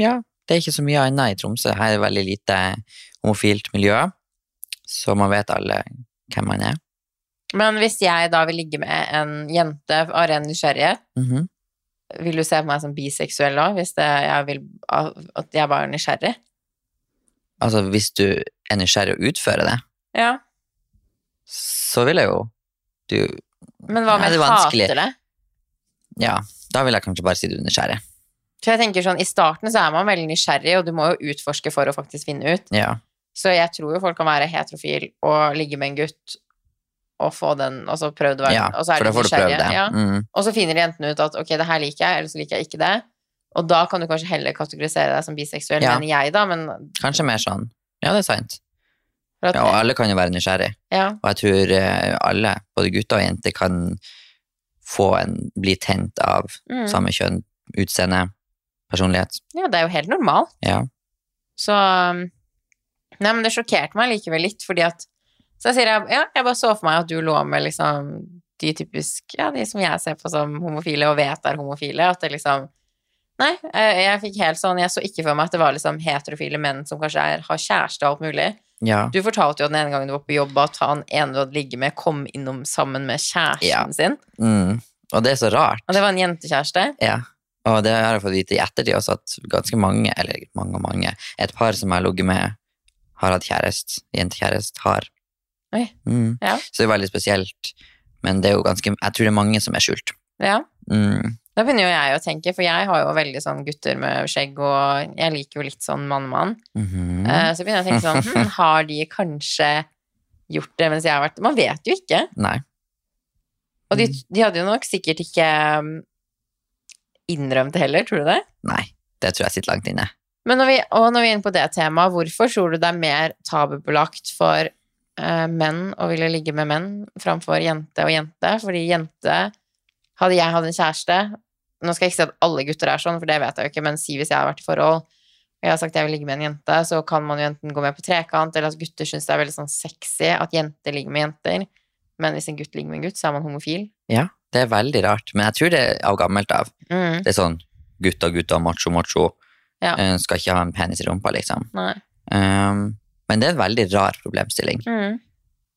[SPEAKER 2] Ja, det er ikke så mye annet i Tromsø. Her er det veldig lite homofilt miljø, så man vet alle hvem man er.
[SPEAKER 1] Men hvis jeg da vil ligge med en jente av ren nysgjerrighet,
[SPEAKER 2] Mhm.
[SPEAKER 1] vil du se på meg som biseksuell da, hvis det, jeg vil at jeg bare er nysgjerrig?
[SPEAKER 2] Altså, hvis du er nysgjerrig og utfører det,
[SPEAKER 1] Ja.
[SPEAKER 2] så vil jeg jo du,
[SPEAKER 1] Men hva om
[SPEAKER 2] Ja, det
[SPEAKER 1] jeg
[SPEAKER 2] er vanskelig.
[SPEAKER 1] hater det?
[SPEAKER 2] Ja, da vil jeg kanskje bare si du er nysgjerrig.
[SPEAKER 1] For jeg tenker sånn, I starten så er man veldig nysgjerrig, og du må jo utforske for å faktisk finne ut.
[SPEAKER 2] Ja.
[SPEAKER 1] Så jeg tror jo folk kan være heterofil og ligge med en gutt og få den, og så prøvd å være
[SPEAKER 2] ja,
[SPEAKER 1] og så er
[SPEAKER 2] for da
[SPEAKER 1] de
[SPEAKER 2] får du prøve
[SPEAKER 1] nysgjerrige,
[SPEAKER 2] det.
[SPEAKER 1] Ja.
[SPEAKER 2] Mm.
[SPEAKER 1] Og så finner jentene ut at ok, det her liker jeg, eller så liker jeg ikke det. Og da kan du kanskje heller kategorisere deg som biseksuell,
[SPEAKER 2] Ja.
[SPEAKER 1] mener jeg, da. Men
[SPEAKER 2] Kanskje mer sånn. Ja, det er sant.
[SPEAKER 1] for at,
[SPEAKER 2] Ja, og alle kan jo være nysgjerrig.
[SPEAKER 1] ja.
[SPEAKER 2] Og jeg tror eh, alle, både gutter og jenter, kan få en, bli tent av
[SPEAKER 1] Mm.
[SPEAKER 2] samme kjønn, utseende, personlighet.
[SPEAKER 1] ja, det er jo helt normalt.
[SPEAKER 2] Ja.
[SPEAKER 1] Så um, Nei, men det sjokkerte meg likevel litt, fordi at Så jeg sier jeg, ja, jeg bare så for meg at du lå med liksom de typisk Ja, de som jeg ser på som homofile og vet er homofile, at det liksom Nei, eh, jeg fikk helt sånn Jeg så ikke for meg at det var liksom heterofile menn som kanskje er, har kjæreste og alt mulig.
[SPEAKER 2] Ja.
[SPEAKER 1] Du fortalte jo den ene gangen du var på jobb, at han ene du hadde ligget med, kom innom sammen med kjæresten
[SPEAKER 2] Ja.
[SPEAKER 1] sin.
[SPEAKER 2] Mm. Og det er så rart.
[SPEAKER 1] Og det var en jentekjæreste.
[SPEAKER 2] Ja. Og det har jeg fått vite i ettertid også, at ganske mange, eller mange og mange, et par som jeg har ligget med, har hatt kjæreste, jentekjæreste, har.
[SPEAKER 1] Oi.
[SPEAKER 2] Mm.
[SPEAKER 1] Ja.
[SPEAKER 2] Så det er veldig spesielt. Men det er jo ganske, jeg tror det er mange som er skjult.
[SPEAKER 1] Ja.
[SPEAKER 2] Mm.
[SPEAKER 1] Da begynner jo jeg å tenke, for jeg har jo veldig sånn gutter med skjegg, og jeg liker jo litt sånn mann-mann.
[SPEAKER 2] Mhm.
[SPEAKER 1] Eh, Så begynner jeg å tenke sånn, hm, har de kanskje gjort det mens jeg har vært Man vet jo ikke.
[SPEAKER 2] Nei.
[SPEAKER 1] Og de, de hadde jo nok sikkert ikke um, innrømt det heller, tror du det?
[SPEAKER 2] Nei, det tror jeg sitter langt inne.
[SPEAKER 1] Men når vi, og når vi er inne på det temaet, hvorfor tror du det er mer tabubelagt for eh, menn å ville ligge med menn framfor jente og jente? Fordi jente Hadde jeg hatt en kjæreste Nå skal jeg ikke si at alle gutter er sånn, for det vet jeg jo ikke, men si hvis jeg har vært i forhold og jeg har sagt jeg vil ligge med en jente, så kan man jo enten gå med på trekant, eller at gutter syns det er veldig sånn sexy at jenter ligger med jenter. Men hvis en gutt ligger med en gutt, så er man homofil.
[SPEAKER 2] Det er veldig rart, men jeg tror det er av gammelt av.
[SPEAKER 1] Mm,
[SPEAKER 2] Det er sånn gutta, gutta, macho, macho.
[SPEAKER 1] Ja.
[SPEAKER 2] Eh, Skal ikke ha en penis i rumpa, liksom.
[SPEAKER 1] nei.
[SPEAKER 2] Um, men det er en veldig rar problemstilling.
[SPEAKER 1] Mm,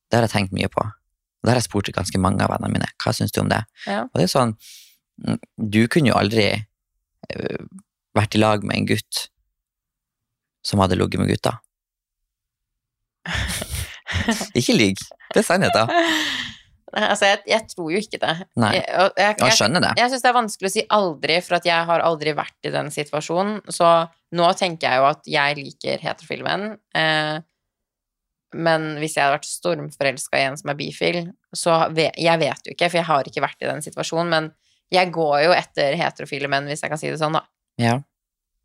[SPEAKER 2] Det har jeg tenkt mye på. Og det har jeg spurt ganske mange av vennene mine. Hva syns du om det?
[SPEAKER 1] Ja.
[SPEAKER 2] Og det er sånn, mm, du kunne jo aldri eh, vært i lag med en gutt som hadde ligget med gutta. ikke lyg. Det er sannheten.
[SPEAKER 1] Altså, jeg, jeg tror jo ikke det.
[SPEAKER 2] Nei.
[SPEAKER 1] Jeg, og jeg,
[SPEAKER 2] Og
[SPEAKER 1] jeg,
[SPEAKER 2] jeg skjønner det.
[SPEAKER 1] Jeg syns det er vanskelig å si aldri, for at jeg har aldri vært i den situasjonen. Så nå tenker jeg jo at jeg liker heterofile menn. Eh, men hvis jeg hadde vært stormforelska i en som er bifil, så ve- Jeg vet jo ikke, for jeg har ikke vært i den situasjonen, men jeg går jo etter heterofile menn, hvis jeg kan si det sånn, da.
[SPEAKER 2] Ja.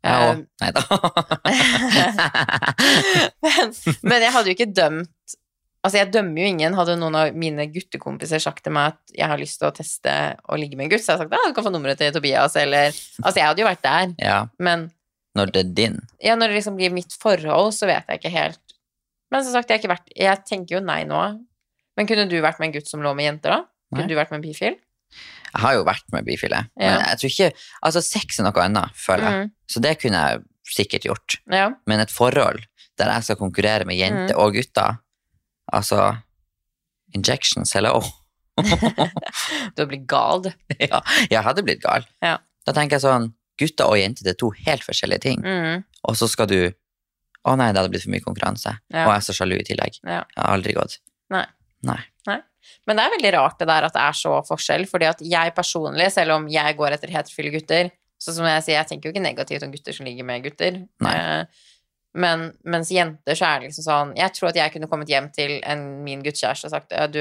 [SPEAKER 2] Jeg
[SPEAKER 1] Eh,
[SPEAKER 2] òg. Nei da.
[SPEAKER 1] men, men jeg hadde jo ikke dømt Altså, jeg dømmer jo ingen. Hadde noen av mine guttekompiser sagt til meg at jeg har lyst til å teste å ligge med en gutt, så hadde jeg sagt ja, du kan få nummeret til Tobias, eller Altså, jeg hadde jo vært der,
[SPEAKER 2] ja.
[SPEAKER 1] men
[SPEAKER 2] Når det er din.
[SPEAKER 1] ja, når det liksom blir mitt forhold, så vet jeg ikke helt Men som sagt, jeg har ikke vært Jeg tenker jo nei nå. Men kunne du vært med en gutt som lå med jenter, da? Kunne
[SPEAKER 2] Nei.
[SPEAKER 1] du vært med en bifil?
[SPEAKER 2] Jeg har jo vært med bifile, men
[SPEAKER 1] Ja.
[SPEAKER 2] jeg tror ikke Altså, sex er noe annet, føler jeg.
[SPEAKER 1] Mm,
[SPEAKER 2] Så det kunne jeg sikkert gjort.
[SPEAKER 1] ja.
[SPEAKER 2] Men et forhold der jeg skal konkurrere med jenter
[SPEAKER 1] Mm.
[SPEAKER 2] og gutter Altså Injections, hello.
[SPEAKER 1] Du hadde blitt gal, du.
[SPEAKER 2] ja, jeg hadde blitt gal.
[SPEAKER 1] Ja.
[SPEAKER 2] Da tenker jeg sånn Gutter og jenter det er to helt forskjellige ting.
[SPEAKER 1] Mm,
[SPEAKER 2] Og så skal du Å nei, det hadde blitt for mye konkurranse.
[SPEAKER 1] ja.
[SPEAKER 2] Og jeg er så sjalu i tillegg.
[SPEAKER 1] Ja.
[SPEAKER 2] Jeg har aldri gått.
[SPEAKER 1] Men det er veldig rart det der at det er så forskjell, fordi at jeg personlig, selv om jeg går etter heterofile gutter, så som jeg sier, jeg tenker jo ikke negativt om gutter som ligger med gutter.
[SPEAKER 2] Nei.
[SPEAKER 1] Eh, Men mens jenter så er det liksom sånn Jeg tror at jeg kunne kommet hjem til en, min guttekjæreste og sagt «Ja, Du,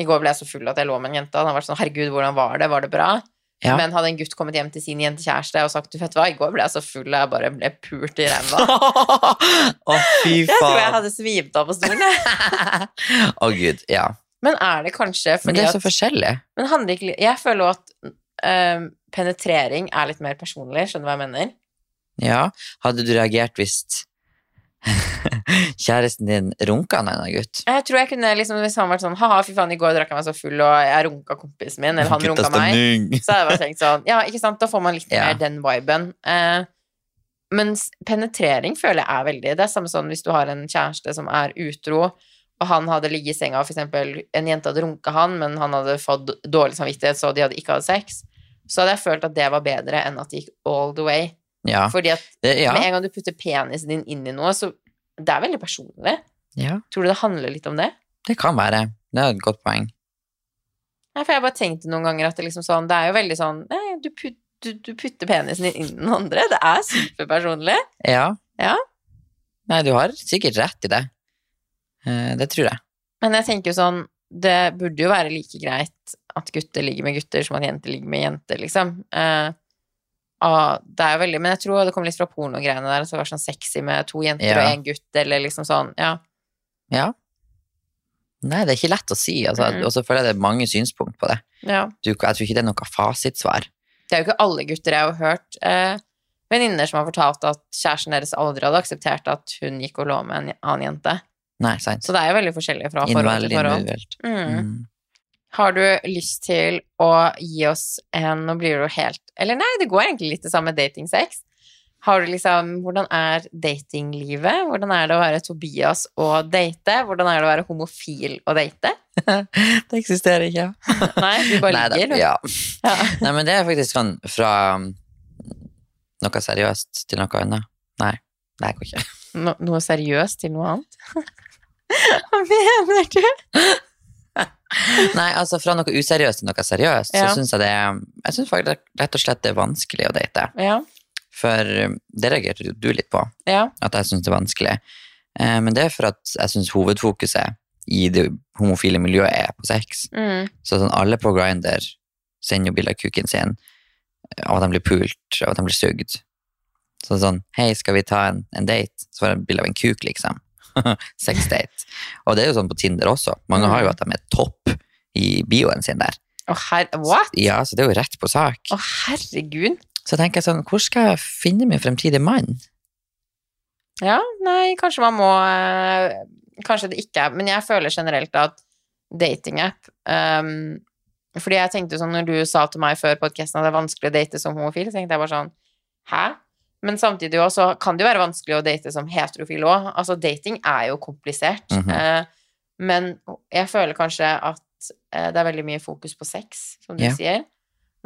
[SPEAKER 1] i går ble jeg så full at jeg lå med en jente. Han har vært sånn Herregud, hvordan var det? Var det bra?
[SPEAKER 2] Ja.
[SPEAKER 1] Men hadde en gutt kommet hjem til sin jentekjæreste og sagt Du vet hva, i går ble jeg så full at jeg bare ble pult i
[SPEAKER 2] Å,
[SPEAKER 1] ræva.
[SPEAKER 2] fy
[SPEAKER 1] Jeg tror jeg
[SPEAKER 2] faen.
[SPEAKER 1] hadde svimt av på stolen. jeg.
[SPEAKER 2] Å, gud. Ja.
[SPEAKER 1] Men er det kanskje
[SPEAKER 2] Men
[SPEAKER 1] fordi
[SPEAKER 2] det
[SPEAKER 1] at
[SPEAKER 2] er så forskjellig.
[SPEAKER 1] Men handler ikke li- Jeg føler jo at øhm, penetrering er litt mer personlig, skjønner du hva jeg mener?
[SPEAKER 2] Ja. Hadde du reagert hvis kjæresten din runka en annen gutt?
[SPEAKER 1] Jeg tror jeg kunne liksom, Hvis han vært sånn Ha-ha, fy faen, i går drakk jeg meg så full, og jeg runka kompisen min, eller han runka meg, så hadde jeg bare tenkt sånn Ja, ikke sant, da får man litt
[SPEAKER 2] Ja.
[SPEAKER 1] mer den viben. Eh, mens penetrering føler jeg er veldig Det er samme sånn hvis du har en kjæreste som er utro, og han hadde ligget i senga, og for eksempel en jente hadde runka han, men han hadde fått dårlig samvittighet, så de hadde ikke hatt sex, så hadde jeg følt at det var bedre enn at det gikk all the way.
[SPEAKER 2] Ja.
[SPEAKER 1] Fordi at
[SPEAKER 2] Det, ja.
[SPEAKER 1] med en gang du putter penisen din inn i noe, så det er veldig personlig.
[SPEAKER 2] ja.
[SPEAKER 1] Tror du det handler litt om det?
[SPEAKER 2] Det kan være. Det er et godt poeng.
[SPEAKER 1] Nei, for jeg har bare tenkt noen ganger at det liksom sånn, det er jo veldig sånn, nei, du, put, du, du putter penisen din inn i den andre, det er superpersonlig.
[SPEAKER 2] Ja.
[SPEAKER 1] Ja.
[SPEAKER 2] Nei, du har sikkert rett i det. Eh, Det tror jeg.
[SPEAKER 1] Men jeg tenker jo sånn, det burde jo være like greit at gutter ligger med gutter som at jenter ligger med jenter, liksom. Eh, ah, det er jo veldig, men jeg tror det kom litt fra pornogreiene der, at det var sånn sexy med to jenter
[SPEAKER 2] Ja.
[SPEAKER 1] og en gutt, eller liksom sånn, ja.
[SPEAKER 2] Nei, det er ikke lett å si. Altså.
[SPEAKER 1] Mhm.
[SPEAKER 2] Og så føler jeg det er mange synspunkt på det.
[SPEAKER 1] ja.
[SPEAKER 2] Du, jeg tror ikke det er noe fasitsvar.
[SPEAKER 1] Det er jo ikke alle gutter jeg har hørt eh, venninner som har fortalt at kjæresten deres aldri hadde akseptert at hun gikk og lå med en annen jente.
[SPEAKER 2] Nei, sant.
[SPEAKER 1] Så det er jo veldig forskjellig fra forhold
[SPEAKER 2] Innvel,
[SPEAKER 1] til forhold.
[SPEAKER 2] individuelt.
[SPEAKER 1] Mm.
[SPEAKER 2] Mm.
[SPEAKER 1] Har du lyst til å gi oss en Nå blir det jo helt Eller nei, det går egentlig litt det samme med datingsex. Har du liksom Hvordan er datinglivet? Hvordan er det å være Tobias og date? Hvordan er det å være homofil og date?
[SPEAKER 2] Det eksisterer ikke.
[SPEAKER 1] Nei, du bare
[SPEAKER 2] Nei,
[SPEAKER 1] ligger.
[SPEAKER 2] det, ja.
[SPEAKER 1] Ja.
[SPEAKER 2] Nei, men det er faktisk sånn fra um, noe seriøst til noe annet. Nei, det her går ikke.
[SPEAKER 1] No, noe seriøst til noe annet? Hva mener du?
[SPEAKER 2] Nei, altså fra noe useriøst til noe seriøst,
[SPEAKER 1] Ja.
[SPEAKER 2] så syns jeg det er- Jeg syns faktisk rett og slett det er vanskelig å date.
[SPEAKER 1] Ja.
[SPEAKER 2] For um, det reagerte jo du litt på,
[SPEAKER 1] ja.
[SPEAKER 2] at jeg syns det er vanskelig. Eh, Men det er for at jeg syns hovedfokuset i det homofile miljøet er på sex.
[SPEAKER 1] Mm.
[SPEAKER 2] Så sånn, alle på Grindr sender jo bilder av kuken sin, av at de blir pult, av at de blir sugd. Så sånn, hei, skal vi ta en, en date? Så var det et bilde av en kuk, liksom. Sex date. Og det er jo sånn på Tinder også. Mange har jo at de er topp i bioen sin der.
[SPEAKER 1] Å, her, what?
[SPEAKER 2] Ja, så det er jo rett på sak.
[SPEAKER 1] Å, herregud.
[SPEAKER 2] Så tenker jeg sånn, hvor skal jeg finne min fremtidige mann?
[SPEAKER 1] Ja, nei, kanskje man må eh, Kanskje det ikke er Men jeg føler generelt at datingapp um, Fordi jeg tenkte jo sånn når du sa til meg før podcasten at det er vanskelig å date som homofil, så tenkte jeg bare sånn Hæ? Men samtidig også kan det jo være vanskelig å date som heterofil òg. Altså, dating er jo komplisert.
[SPEAKER 2] Mhm.
[SPEAKER 1] Eh, men jeg føler kanskje at eh, det er veldig mye fokus på sex, som du
[SPEAKER 2] Ja.
[SPEAKER 1] sier.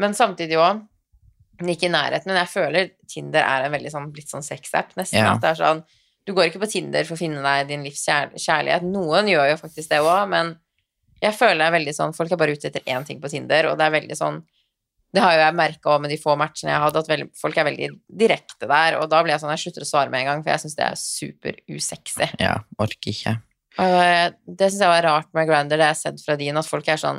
[SPEAKER 1] Men samtidig òg Ikke i nærheten, men jeg føler Tinder er en veldig sånn, litt sånn sex-app, nesten.
[SPEAKER 2] Ja.
[SPEAKER 1] At det er sånn Du går ikke på Tinder for å finne deg din livs kjær kjærlighet. Noen gjør jo faktisk det òg, men jeg føler det er veldig sånn Folk er bare ute etter én ting på Tinder, og det er veldig sånn det har jo jeg merka òg med de få matchene jeg hadde, at veldig, folk er veldig direkte der. Og da blir jeg sånn Jeg slutter å svare med en gang, for jeg syns det er superusexy.
[SPEAKER 2] Ja, orker ikke.
[SPEAKER 1] Og eh, det syns jeg var rart med Grander, det jeg har sett fra din, at folk er sånn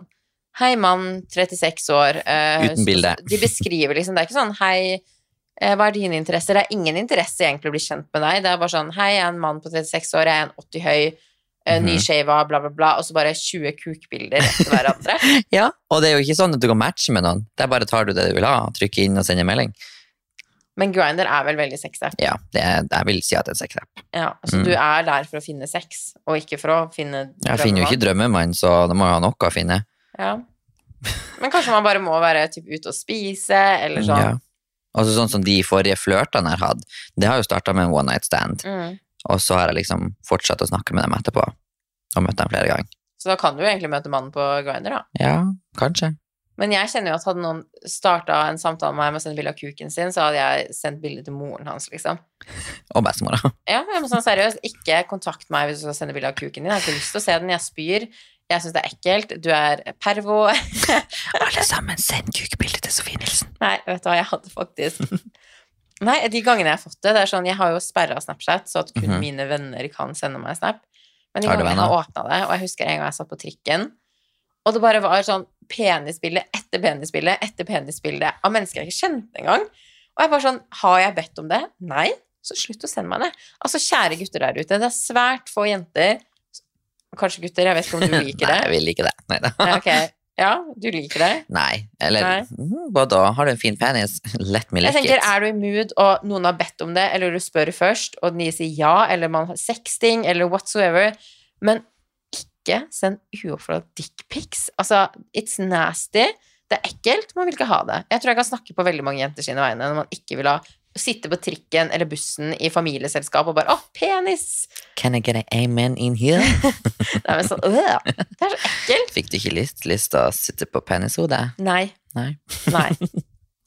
[SPEAKER 1] Hei, mann, 36 år. eh,
[SPEAKER 2] Uten bilde.
[SPEAKER 1] De beskriver liksom Det er ikke sånn Hei, eh, hva er dine interesser? Det er ingen interesse egentlig å bli kjent med deg. Det er bare sånn Hei, jeg er en mann på 36 år, jeg er en 80 høy, eh,
[SPEAKER 2] Mhm.
[SPEAKER 1] nyshava, bla, bla, bla. Og så bare 20 kukbilder etter hverandre.
[SPEAKER 2] Ja, og det er jo ikke sånn at du kan matche med noen. Der bare tar du det du vil ha, trykker inn og sender melding.
[SPEAKER 1] Men Grinder er vel veldig sexy.
[SPEAKER 2] Ja, det er, jeg vil si at det er sex app.
[SPEAKER 1] Ja, så
[SPEAKER 2] Mm.
[SPEAKER 1] du er der for å finne sex, og ikke for å finne
[SPEAKER 2] Jeg finner jo ikke drømmemann, så da må jeg ha noe å finne.
[SPEAKER 1] Ja. Men kanskje man bare må være typ, ute og spise, eller sånn.
[SPEAKER 2] Mm, Ja. Og så sånn som de forrige flørtene jeg hadde, det har jo starta med en one night stand,
[SPEAKER 1] Mm.
[SPEAKER 2] og så har jeg liksom fortsatt å snakke med dem etterpå, og møtt dem flere ganger.
[SPEAKER 1] Så da kan du jo egentlig møte mannen på Grindr, da.
[SPEAKER 2] Ja, kanskje.
[SPEAKER 1] Men jeg kjenner jo at hadde noen starta en samtale med meg med å sende bilde av kuken sin, så hadde jeg sendt bilde til moren hans, liksom.
[SPEAKER 2] Og bestemora.
[SPEAKER 1] Ja, men sånn seriøst, ikke kontakt meg hvis du skal sende bilde av kuken din. Jeg har ikke lyst til å se den. Jeg spyr. Jeg syns det er ekkelt. Du er pervo.
[SPEAKER 2] Alle sammen, send kukbilde til Sofie Nilsen.
[SPEAKER 1] Nei, vet du hva, jeg hadde faktisk Nei, de gangene jeg har fått det, det er sånn Jeg har jo sperra Snapchat, så at kun
[SPEAKER 2] Mhm.
[SPEAKER 1] mine venner kan sende meg Snap. Men de
[SPEAKER 2] Har du
[SPEAKER 1] gangene jeg har åpna det, og jeg husker en gang jeg satt på trikken, og det bare var sånn penisbilde etter penisbilde etter penisbilde av mennesker jeg ikke kjente engang. Og jeg bare sånn Har jeg bedt om det? Nei. Så slutt å sende meg det. Altså, kjære gutter der ute, det er svært få jenter Kanskje gutter, jeg vet ikke om du liker
[SPEAKER 2] Nei, jeg
[SPEAKER 1] det.
[SPEAKER 2] vil ikke det. Nei da.
[SPEAKER 1] Ja, ok. ja, du liker det?
[SPEAKER 2] Nei. Eller
[SPEAKER 1] Nei.
[SPEAKER 2] mm, hva da? Har du en fin penis? Let me
[SPEAKER 1] Jeg
[SPEAKER 2] lick it.
[SPEAKER 1] tenker, Er du i mood, og noen har bedt om det, eller du spør først, og de sier ja, eller man har sexting, eller whatsoever Men ikke send uoppfordra dickpics. Altså, it's nasty. Det er ekkelt. Man vil ikke ha det. Jeg tror jeg kan snakke på veldig mange jenter sine vegne når man ikke vil ha sitte på trikken eller bussen i familieselskap og bare 'Å, penis!'
[SPEAKER 2] Can I get an amen in here?
[SPEAKER 1] Det er, vel sånn, øh, det er så ekkelt.
[SPEAKER 2] Fikk du ikke lyst, lyst til å sitte på penishodet?
[SPEAKER 1] Nei.
[SPEAKER 2] Nei.
[SPEAKER 1] Nei.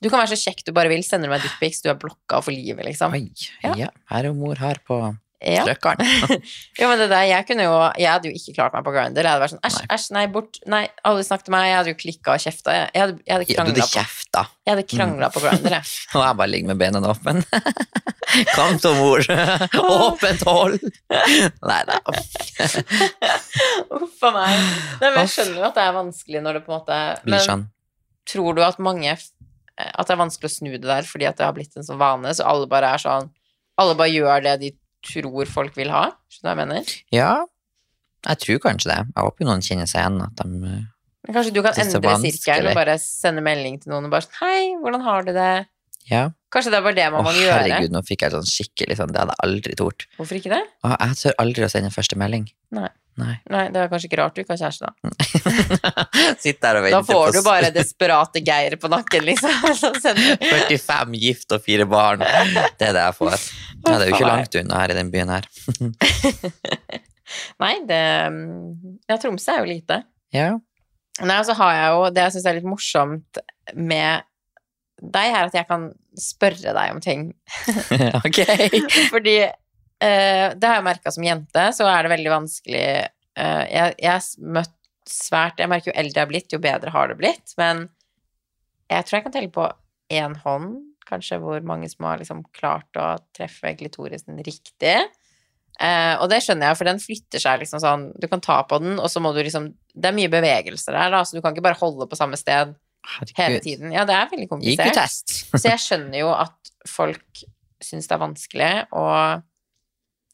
[SPEAKER 1] Du kan være så kjekk du bare vil. Sender du meg dickpics, du er blokka for livet, liksom.
[SPEAKER 2] Oi,
[SPEAKER 1] Ja.
[SPEAKER 2] ja. Her er mor her på
[SPEAKER 1] Ja.
[SPEAKER 2] strøkkeren.
[SPEAKER 1] Jo, men det der, jeg, kunne jo, jeg hadde jo ikke klart meg på Grindr. Jeg hadde vært sånn æsj, æsj, nei, bort, nei, alle snakket til meg. Jeg hadde jo klikka og kjefta. Jeg, jeg, hadde- jeg hadde
[SPEAKER 2] Du hadde
[SPEAKER 1] krangla på,
[SPEAKER 2] kjefta.
[SPEAKER 1] jeg hadde kranglet på Grindr, jeg.
[SPEAKER 2] Og jeg bare ligger med benene åpne. Kom til mor. Åpent hold. Nei da.
[SPEAKER 1] Uff a meg. Nei, men jeg skjønner jo at det er vanskelig når det på en måte
[SPEAKER 2] Blir
[SPEAKER 1] Men
[SPEAKER 2] sånn.
[SPEAKER 1] tror du at mange At det er vanskelig å snu det der fordi at det har blitt en sånn vane, så alle bare er sånn Alle bare gjør det de tror folk vil ha? Skjønner du hva jeg mener?
[SPEAKER 2] Ja, jeg tror kanskje det. Jeg håper jo noen kjenner seg igjen. At de, eh,
[SPEAKER 1] Men kanskje du kan
[SPEAKER 2] Det er så
[SPEAKER 1] endre sirkelen
[SPEAKER 2] vanskelig.
[SPEAKER 1] og bare sende melding til noen og bare sånn Hei, hvordan har du det?
[SPEAKER 2] ja.
[SPEAKER 1] Kanskje det er bare det
[SPEAKER 2] Å,
[SPEAKER 1] man må gjøre?
[SPEAKER 2] herregud, nå fikk jeg sånn skikkelig sånn. Det hadde jeg aldri tort.
[SPEAKER 1] Hvorfor ikke det?
[SPEAKER 2] Å, jeg tør aldri å sende første melding.
[SPEAKER 1] Nei, det er kanskje ikke rart du ikke har kjæreste, da.
[SPEAKER 2] Sitt der
[SPEAKER 1] Da
[SPEAKER 2] og venter
[SPEAKER 1] får du
[SPEAKER 2] på
[SPEAKER 1] bare desperate Geir på nakken, liksom. Så sender du
[SPEAKER 2] 45 gift og fire barn. Det er det jeg får. Ja, det er jo ikke
[SPEAKER 1] Nei.
[SPEAKER 2] langt unna her i den byen her.
[SPEAKER 1] Nei, det Ja, Tromsø er jo lite.
[SPEAKER 2] Ja.
[SPEAKER 1] Nei, og så har jeg jo Det jeg syns er litt morsomt med deg, er at jeg kan spørre deg om ting.
[SPEAKER 2] ok.
[SPEAKER 1] Fordi eh, det har jeg merka som jente, så er det veldig vanskelig eh, jeg, jeg har møtt svært Jeg merker jo eldre jeg har blitt, jo bedre har det blitt. Men jeg tror jeg kan telle på én hånd, kanskje, hvor mange som har liksom klart å treffe klitorisen riktig. Eh, og det skjønner jeg, for den flytter seg liksom sånn Du kan ta på den, og så må du liksom Det er mye bevegelser der, da, så du kan ikke bare holde på samme sted hele
[SPEAKER 2] Herregud.
[SPEAKER 1] tiden. Ja, det er veldig komplisert.
[SPEAKER 2] IQ-test.
[SPEAKER 1] Så jeg skjønner jo at folk syns det er vanskelig, og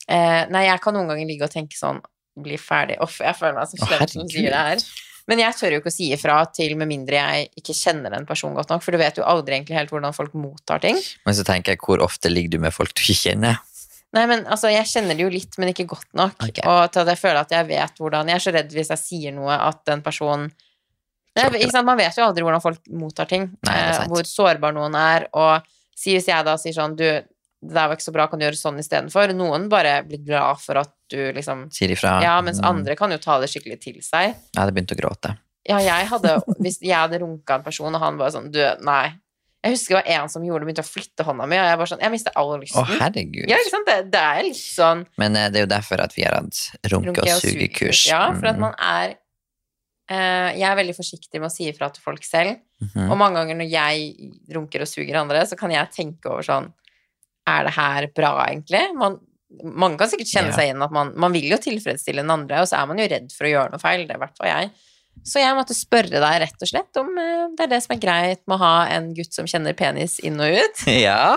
[SPEAKER 1] eh, Nei, jeg kan noen ganger ligge og tenke sånn Bli ferdig. Uff, jeg føler meg som
[SPEAKER 2] Å,
[SPEAKER 1] slem som sier det her.
[SPEAKER 2] herregud.
[SPEAKER 1] Men jeg tør jo ikke å si ifra til med mindre jeg ikke kjenner en person godt nok, for du vet jo aldri egentlig helt hvordan folk mottar ting.
[SPEAKER 2] Men så tenker jeg, hvor ofte ligger du med folk du ikke kjenner?
[SPEAKER 1] Nei, men altså, jeg kjenner det jo litt, men ikke godt nok.
[SPEAKER 2] Ok.
[SPEAKER 1] Og til at jeg føler at jeg vet hvordan Jeg er så redd hvis jeg sier noe at den personen Nei,
[SPEAKER 2] Klokker.
[SPEAKER 1] ikke sant? Man vet jo aldri hvordan folk mottar ting.
[SPEAKER 2] Nei, det er
[SPEAKER 1] eh,
[SPEAKER 2] sant.
[SPEAKER 1] hvor sårbar noen er. Og si hvis jeg da sier sånn Du, det der var ikke så bra, kan du gjøre sånn istedenfor? Noen bare blir glad for at du liksom
[SPEAKER 2] Sier ifra.
[SPEAKER 1] Ja, mens
[SPEAKER 2] Mm.
[SPEAKER 1] andre kan jo ta det skikkelig til seg.
[SPEAKER 2] Jeg hadde begynt å gråte.
[SPEAKER 1] Ja, jeg hadde Hvis jeg hadde runka en person, og han bare sånn Du, nei. Jeg husker det var en som gjorde det, begynte å flytte hånda mi, og jeg bare sånn Jeg mista all
[SPEAKER 2] Å,
[SPEAKER 1] lysten.
[SPEAKER 2] herregud.
[SPEAKER 1] ja, ikke sant? Det, det er litt sånn
[SPEAKER 2] Men eh, det er jo derfor at vi har hatt runke-
[SPEAKER 1] Runke
[SPEAKER 2] og
[SPEAKER 1] og
[SPEAKER 2] sugekurs.
[SPEAKER 1] Ja, for at
[SPEAKER 2] Mm,
[SPEAKER 1] man er eh, Jeg er veldig forsiktig med å si ifra til folk selv.
[SPEAKER 2] mhm.
[SPEAKER 1] Og mange ganger når jeg runker og suger andre, så kan jeg tenke over sånn Er det her bra, egentlig? Man, mange kan sikkert kjenne
[SPEAKER 2] Ja.
[SPEAKER 1] seg igjen at man, man vil jo tilfredsstille den andre, og så er man jo redd for å gjøre noe feil. Det er i hvert fall jeg. Så jeg måtte spørre deg rett og slett om eh, det er det som er greit med å ha en gutt som kjenner penis inn og ut.
[SPEAKER 2] ja.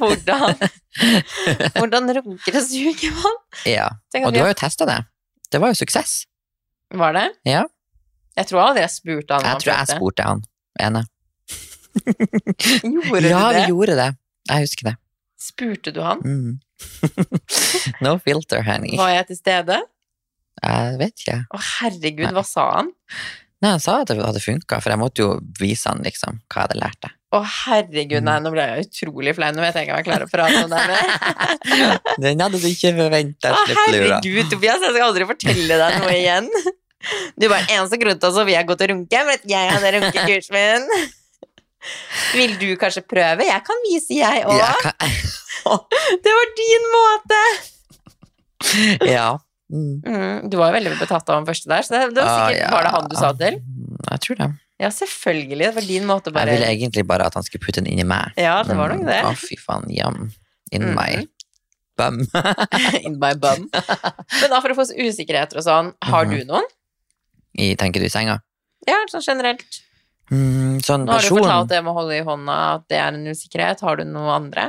[SPEAKER 1] Hvordan, hvordan runker og suger man?
[SPEAKER 2] ja.
[SPEAKER 1] Tenk at
[SPEAKER 2] Og
[SPEAKER 1] vi
[SPEAKER 2] du har jo testa det. Det var jo suksess.
[SPEAKER 1] Var det?
[SPEAKER 2] Ja.
[SPEAKER 1] Jeg tror aldri jeg spurte han. om
[SPEAKER 2] Jeg
[SPEAKER 1] han
[SPEAKER 2] tror jeg
[SPEAKER 1] prøvde.
[SPEAKER 2] spurte han ene.
[SPEAKER 1] Gjorde
[SPEAKER 2] Ja,
[SPEAKER 1] du
[SPEAKER 2] vi
[SPEAKER 1] det?
[SPEAKER 2] gjorde det. Jeg husker det.
[SPEAKER 1] Spurte du han?
[SPEAKER 2] Mm. no filter, honey.
[SPEAKER 1] Var jeg til stede?
[SPEAKER 2] Jeg vet ikke.
[SPEAKER 1] Å, herregud, hva sa han?
[SPEAKER 2] Nei, han sa at det hadde funka, for jeg måtte jo vise han liksom hva jeg hadde lært deg.
[SPEAKER 1] Å, herregud,
[SPEAKER 2] Mm.
[SPEAKER 1] nei, nå ble jeg utrolig flau. Nå vet jeg ikke om jeg klarer å prate om det her mer.
[SPEAKER 2] Den hadde du ikke forventa,
[SPEAKER 1] Å,
[SPEAKER 2] slipp lura.
[SPEAKER 1] herregud, Tobias, jeg skal aldri fortelle deg noe igjen. Du bare, eneste grunn til at så vil jeg gå til runke, men at jeg hadde runkekursen min. Vil du kanskje prøve? Jeg kan vise, jeg òg.
[SPEAKER 2] Ja, hva-
[SPEAKER 1] Det var din måte!
[SPEAKER 2] ja. Mm.
[SPEAKER 1] Mm, du var jo veldig betatt av han første der, så det, det var
[SPEAKER 2] Ah,
[SPEAKER 1] sikkert
[SPEAKER 2] ja. Ah, mm.
[SPEAKER 1] var det han du sa til.
[SPEAKER 2] Jeg tror det.
[SPEAKER 1] Ja, selvfølgelig. Det var din måte å
[SPEAKER 2] Jeg
[SPEAKER 1] bare
[SPEAKER 2] ville egentlig bare at han skulle putte den inn i meg.
[SPEAKER 1] Ja, det var nok
[SPEAKER 2] Mm.
[SPEAKER 1] det.
[SPEAKER 2] Å, fy faen. Jam. In
[SPEAKER 1] Mm.
[SPEAKER 2] my bum.
[SPEAKER 1] In my bum. Men apropos usikkerheter og sånn,
[SPEAKER 2] Mhm.
[SPEAKER 1] har du noen?
[SPEAKER 2] I, tenker du, senga?
[SPEAKER 1] Ja, sånn generelt.
[SPEAKER 2] Mm, sånn
[SPEAKER 1] Nå har du fortalt
[SPEAKER 2] person,
[SPEAKER 1] det med å holde i hånda, at det er en usikkerhet. Har du noe andre?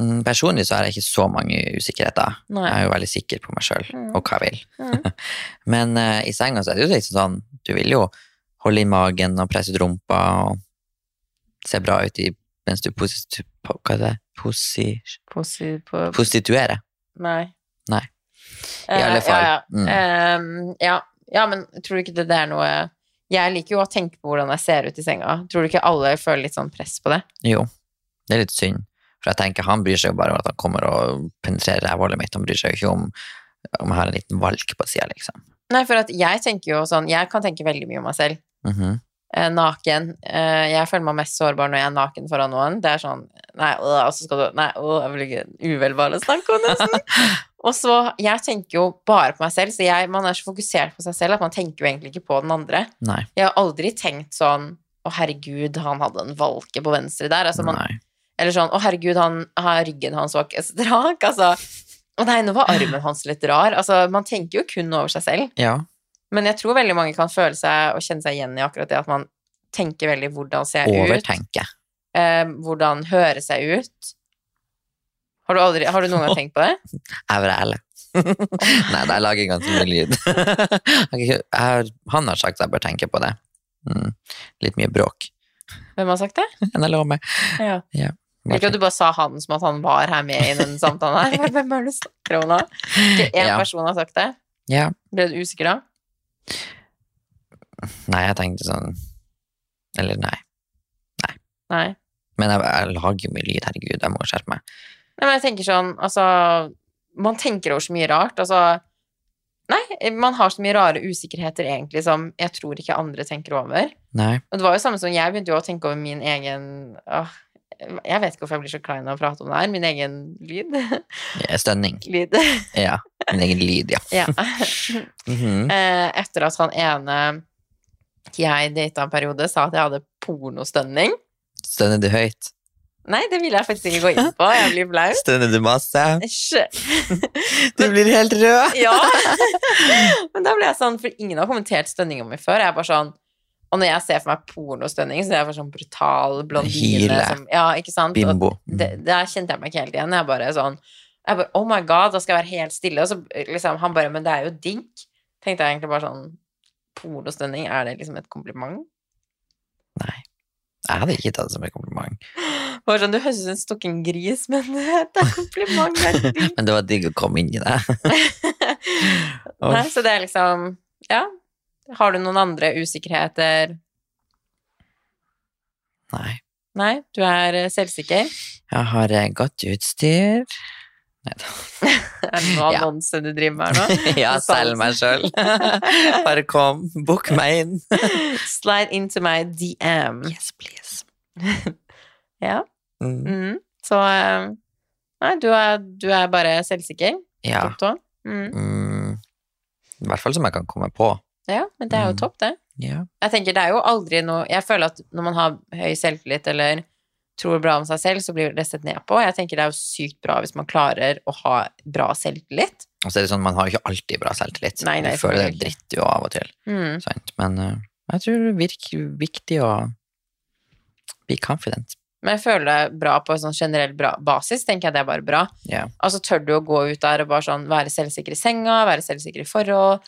[SPEAKER 2] mm, personlig så har jeg ikke så mange usikkerheter.
[SPEAKER 1] Nei.
[SPEAKER 2] Jeg er jo veldig sikker på meg sjøl
[SPEAKER 1] Mm.
[SPEAKER 2] og hva jeg vil.
[SPEAKER 1] Mm.
[SPEAKER 2] Men eh, i senga så er det jo liksom sånn Du vil jo holde i magen og presse ut rumpa og se bra ut i, mens du posi, po, hva er det? Posi,
[SPEAKER 1] Posi på
[SPEAKER 2] prostituerer.
[SPEAKER 1] Nei.
[SPEAKER 2] Nei.
[SPEAKER 1] Eh,
[SPEAKER 2] I alle fall.
[SPEAKER 1] Ja, ja.
[SPEAKER 2] Mm.
[SPEAKER 1] Eh, ja. ja, men tror du ikke det, det er noe Jeg liker jo å tenke på hvordan jeg ser ut i senga. Tror du ikke alle føler litt sånn press på det?
[SPEAKER 2] Jo, det er litt synd. For jeg tenker han bryr seg jo bare om at han kommer og penetrerer rævhullet mitt. Han bryr seg jo ikke om om jeg har en liten valk på sida, liksom.
[SPEAKER 1] Nei, for at jeg tenker jo sånn Jeg kan tenke veldig mye om meg selv.
[SPEAKER 2] Mhm.
[SPEAKER 1] Eh, naken. Eh, jeg føler meg mest sårbar når jeg er naken foran noen. Det er sånn Nei, øh, og så skal du Nei, øh, jeg blir ikke uvelbare å snakke om, nesten. og så Jeg tenker jo bare på meg selv, så jeg, man er så fokusert på seg selv at man tenker jo egentlig ikke på den andre.
[SPEAKER 2] Nei.
[SPEAKER 1] Jeg har aldri tenkt sånn Å, herregud, han hadde en valke på venstre der. Altså, man,
[SPEAKER 2] Nei.
[SPEAKER 1] eller sånn Å, herregud, han har ryggen hans var ikke strak. Altså. Å nei, nå var armen hans litt rar. Altså, man tenker jo kun over seg selv.
[SPEAKER 2] Ja.
[SPEAKER 1] Men jeg tror veldig mange kan føle seg og kjenne seg igjen i akkurat det at man tenker veldig hvordan ser jeg ut,
[SPEAKER 2] Overtenke.
[SPEAKER 1] eh, hvordan høres jeg ut. Har du, aldri, har du noen gang tenkt på det?
[SPEAKER 2] Jeg vil ærlig. Nei, jeg lager ganske mye lyd. Jeg kan ikke- jeg har- han har sagt at jeg bør tenke på det. Mm. Litt mye bråk.
[SPEAKER 1] Hvem har sagt det?
[SPEAKER 2] Men jeg lover meg.
[SPEAKER 1] Ja.
[SPEAKER 2] Ja.
[SPEAKER 1] Jeg liker at du bare sa han som at han var her med i den samtalen her. Hvem er det du snakker om nå? Ikke én
[SPEAKER 2] Ja.
[SPEAKER 1] person har sagt det.
[SPEAKER 2] Ja.
[SPEAKER 1] Ble du usikker da?
[SPEAKER 2] Nei, jeg tenkte sånn Eller nei.
[SPEAKER 1] Nei.
[SPEAKER 2] Men jeg, jeg lager jo mye lyd, herregud. Jeg må skjerpe meg.
[SPEAKER 1] Nei, men jeg tenker sånn, altså Man tenker over så mye rart, altså Nei, man har så mye rare usikkerheter egentlig som jeg tror ikke andre tenker over.
[SPEAKER 2] Nei.
[SPEAKER 1] Og det var jo samme som jeg begynte jo å tenke over min egen åh, Jeg vet ikke hvorfor jeg blir så klein av å prate om det her. Min egen lyd.
[SPEAKER 2] Ja, Stønning.
[SPEAKER 1] lyd.
[SPEAKER 2] Ja. Min egen lyd, ja.
[SPEAKER 1] ja.
[SPEAKER 2] Mhm.
[SPEAKER 1] Eh, Etter at han ene jeg data en periode, sa at jeg hadde pornostønning.
[SPEAKER 2] Stønner du høyt?
[SPEAKER 1] Nei, det vil jeg faktisk ikke gå inn på. Jeg blir flau.
[SPEAKER 2] Stønner du masse?
[SPEAKER 1] Æsj.
[SPEAKER 2] Du blir helt rød!
[SPEAKER 1] Ja! Men da ble jeg sånn, for ingen har kommentert stønninga mi før. Jeg er bare sånn, Og når jeg ser for meg pornostønning, så er jeg bare sånn brutal blondine.
[SPEAKER 2] Hyle.
[SPEAKER 1] Som, ja, ikke sant? Og
[SPEAKER 2] Bimbo.
[SPEAKER 1] det, der kjente jeg meg ikke helt igjen. Jeg bare sånn jeg bare, Oh my god, da skal jeg være helt stille. Og så liksom, han bare Men det er jo digg. Tenkte jeg egentlig bare sånn Pornostønning, er det liksom et kompliment?
[SPEAKER 2] Nei. Jeg hadde ikke tatt det som en kompliment.
[SPEAKER 1] Bare sånn, Du høres ut som en stukken gris, men det er et kompliment. Det er digg.
[SPEAKER 2] Men det var digg å komme inn i det. Åh.
[SPEAKER 1] Nei, så det er liksom Ja. Har du noen andre usikkerheter?
[SPEAKER 2] Nei.
[SPEAKER 1] Nei, du er eh, selvsikker.
[SPEAKER 2] Jeg har eh, godt utstyr.
[SPEAKER 1] Er det noe
[SPEAKER 2] Ja.
[SPEAKER 1] annonse du driver med her nå?
[SPEAKER 2] ja, selg meg sjøl. Bare kom, book meg inn.
[SPEAKER 1] Slide into my DM.
[SPEAKER 2] Yes, please.
[SPEAKER 1] Ja.
[SPEAKER 2] Mm.
[SPEAKER 1] Mm. Så eh, Nei, du er, du er bare selvsikker.
[SPEAKER 2] Ja.
[SPEAKER 1] Topp tå. Mm.
[SPEAKER 2] Mm. I hvert fall som jeg kan komme på.
[SPEAKER 1] Ja, men det er jo
[SPEAKER 2] Mm.
[SPEAKER 1] topp, det.
[SPEAKER 2] Ja.
[SPEAKER 1] Jeg tenker det er jo aldri noe Jeg føler at når man har høy selvtillit eller tror bra om seg selv, så blir det sett ned på. Jeg tenker det er jo sykt bra hvis man klarer å ha bra selvtillit.
[SPEAKER 2] Og så er det sånn, man har jo ikke alltid bra selvtillit.
[SPEAKER 1] Nei, nei,
[SPEAKER 2] du føler
[SPEAKER 1] selvfølgelig
[SPEAKER 2] deg dritt jo av og til.
[SPEAKER 1] Mm.
[SPEAKER 2] Sant? Men eh, jeg tror det virker viktig å be confident.
[SPEAKER 1] Men jeg føler det bra på en sånn generell bra basis, tenker jeg det er bare bra.
[SPEAKER 2] Ja.
[SPEAKER 1] Altså, tør du å gå ut der og bare sånn være selvsikker i senga, være selvsikker i forhold,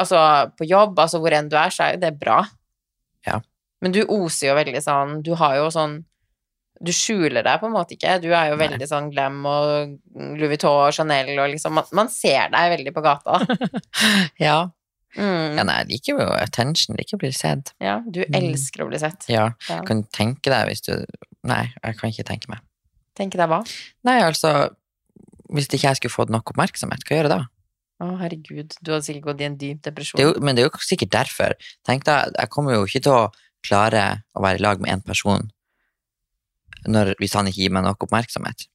[SPEAKER 1] altså på jobb, altså hvor enn du er, så er jo det bra.
[SPEAKER 2] Ja.
[SPEAKER 1] Men du oser jo veldig sånn, du har jo sånn, du skjuler deg på en måte ikke, du er jo
[SPEAKER 2] Nei.
[SPEAKER 1] veldig sånn glam og Louis Vuitton og Chanel og liksom, man, man ser deg veldig på gata.
[SPEAKER 2] Ja. ja.
[SPEAKER 1] Mm.
[SPEAKER 2] Nei, jeg liker jo attention, liker å bli sett.
[SPEAKER 1] Ja, du elsker å bli sett.
[SPEAKER 2] Ja,
[SPEAKER 1] Ja.
[SPEAKER 2] kan du tenke deg hvis du Nei, jeg kan ikke tenke meg.
[SPEAKER 1] Tenk deg hva?
[SPEAKER 2] Nei, altså Hvis ikke jeg skulle fått nok oppmerksomhet, hva gjør jeg da?
[SPEAKER 1] Å, herregud, du hadde sikkert gått i en dyp depresjon.
[SPEAKER 2] Det er jo, men det er jo sikkert derfor. Tenk da, jeg kommer jo ikke til å klare å være i lag med én person når, hvis han ikke gir meg nok oppmerksomhet.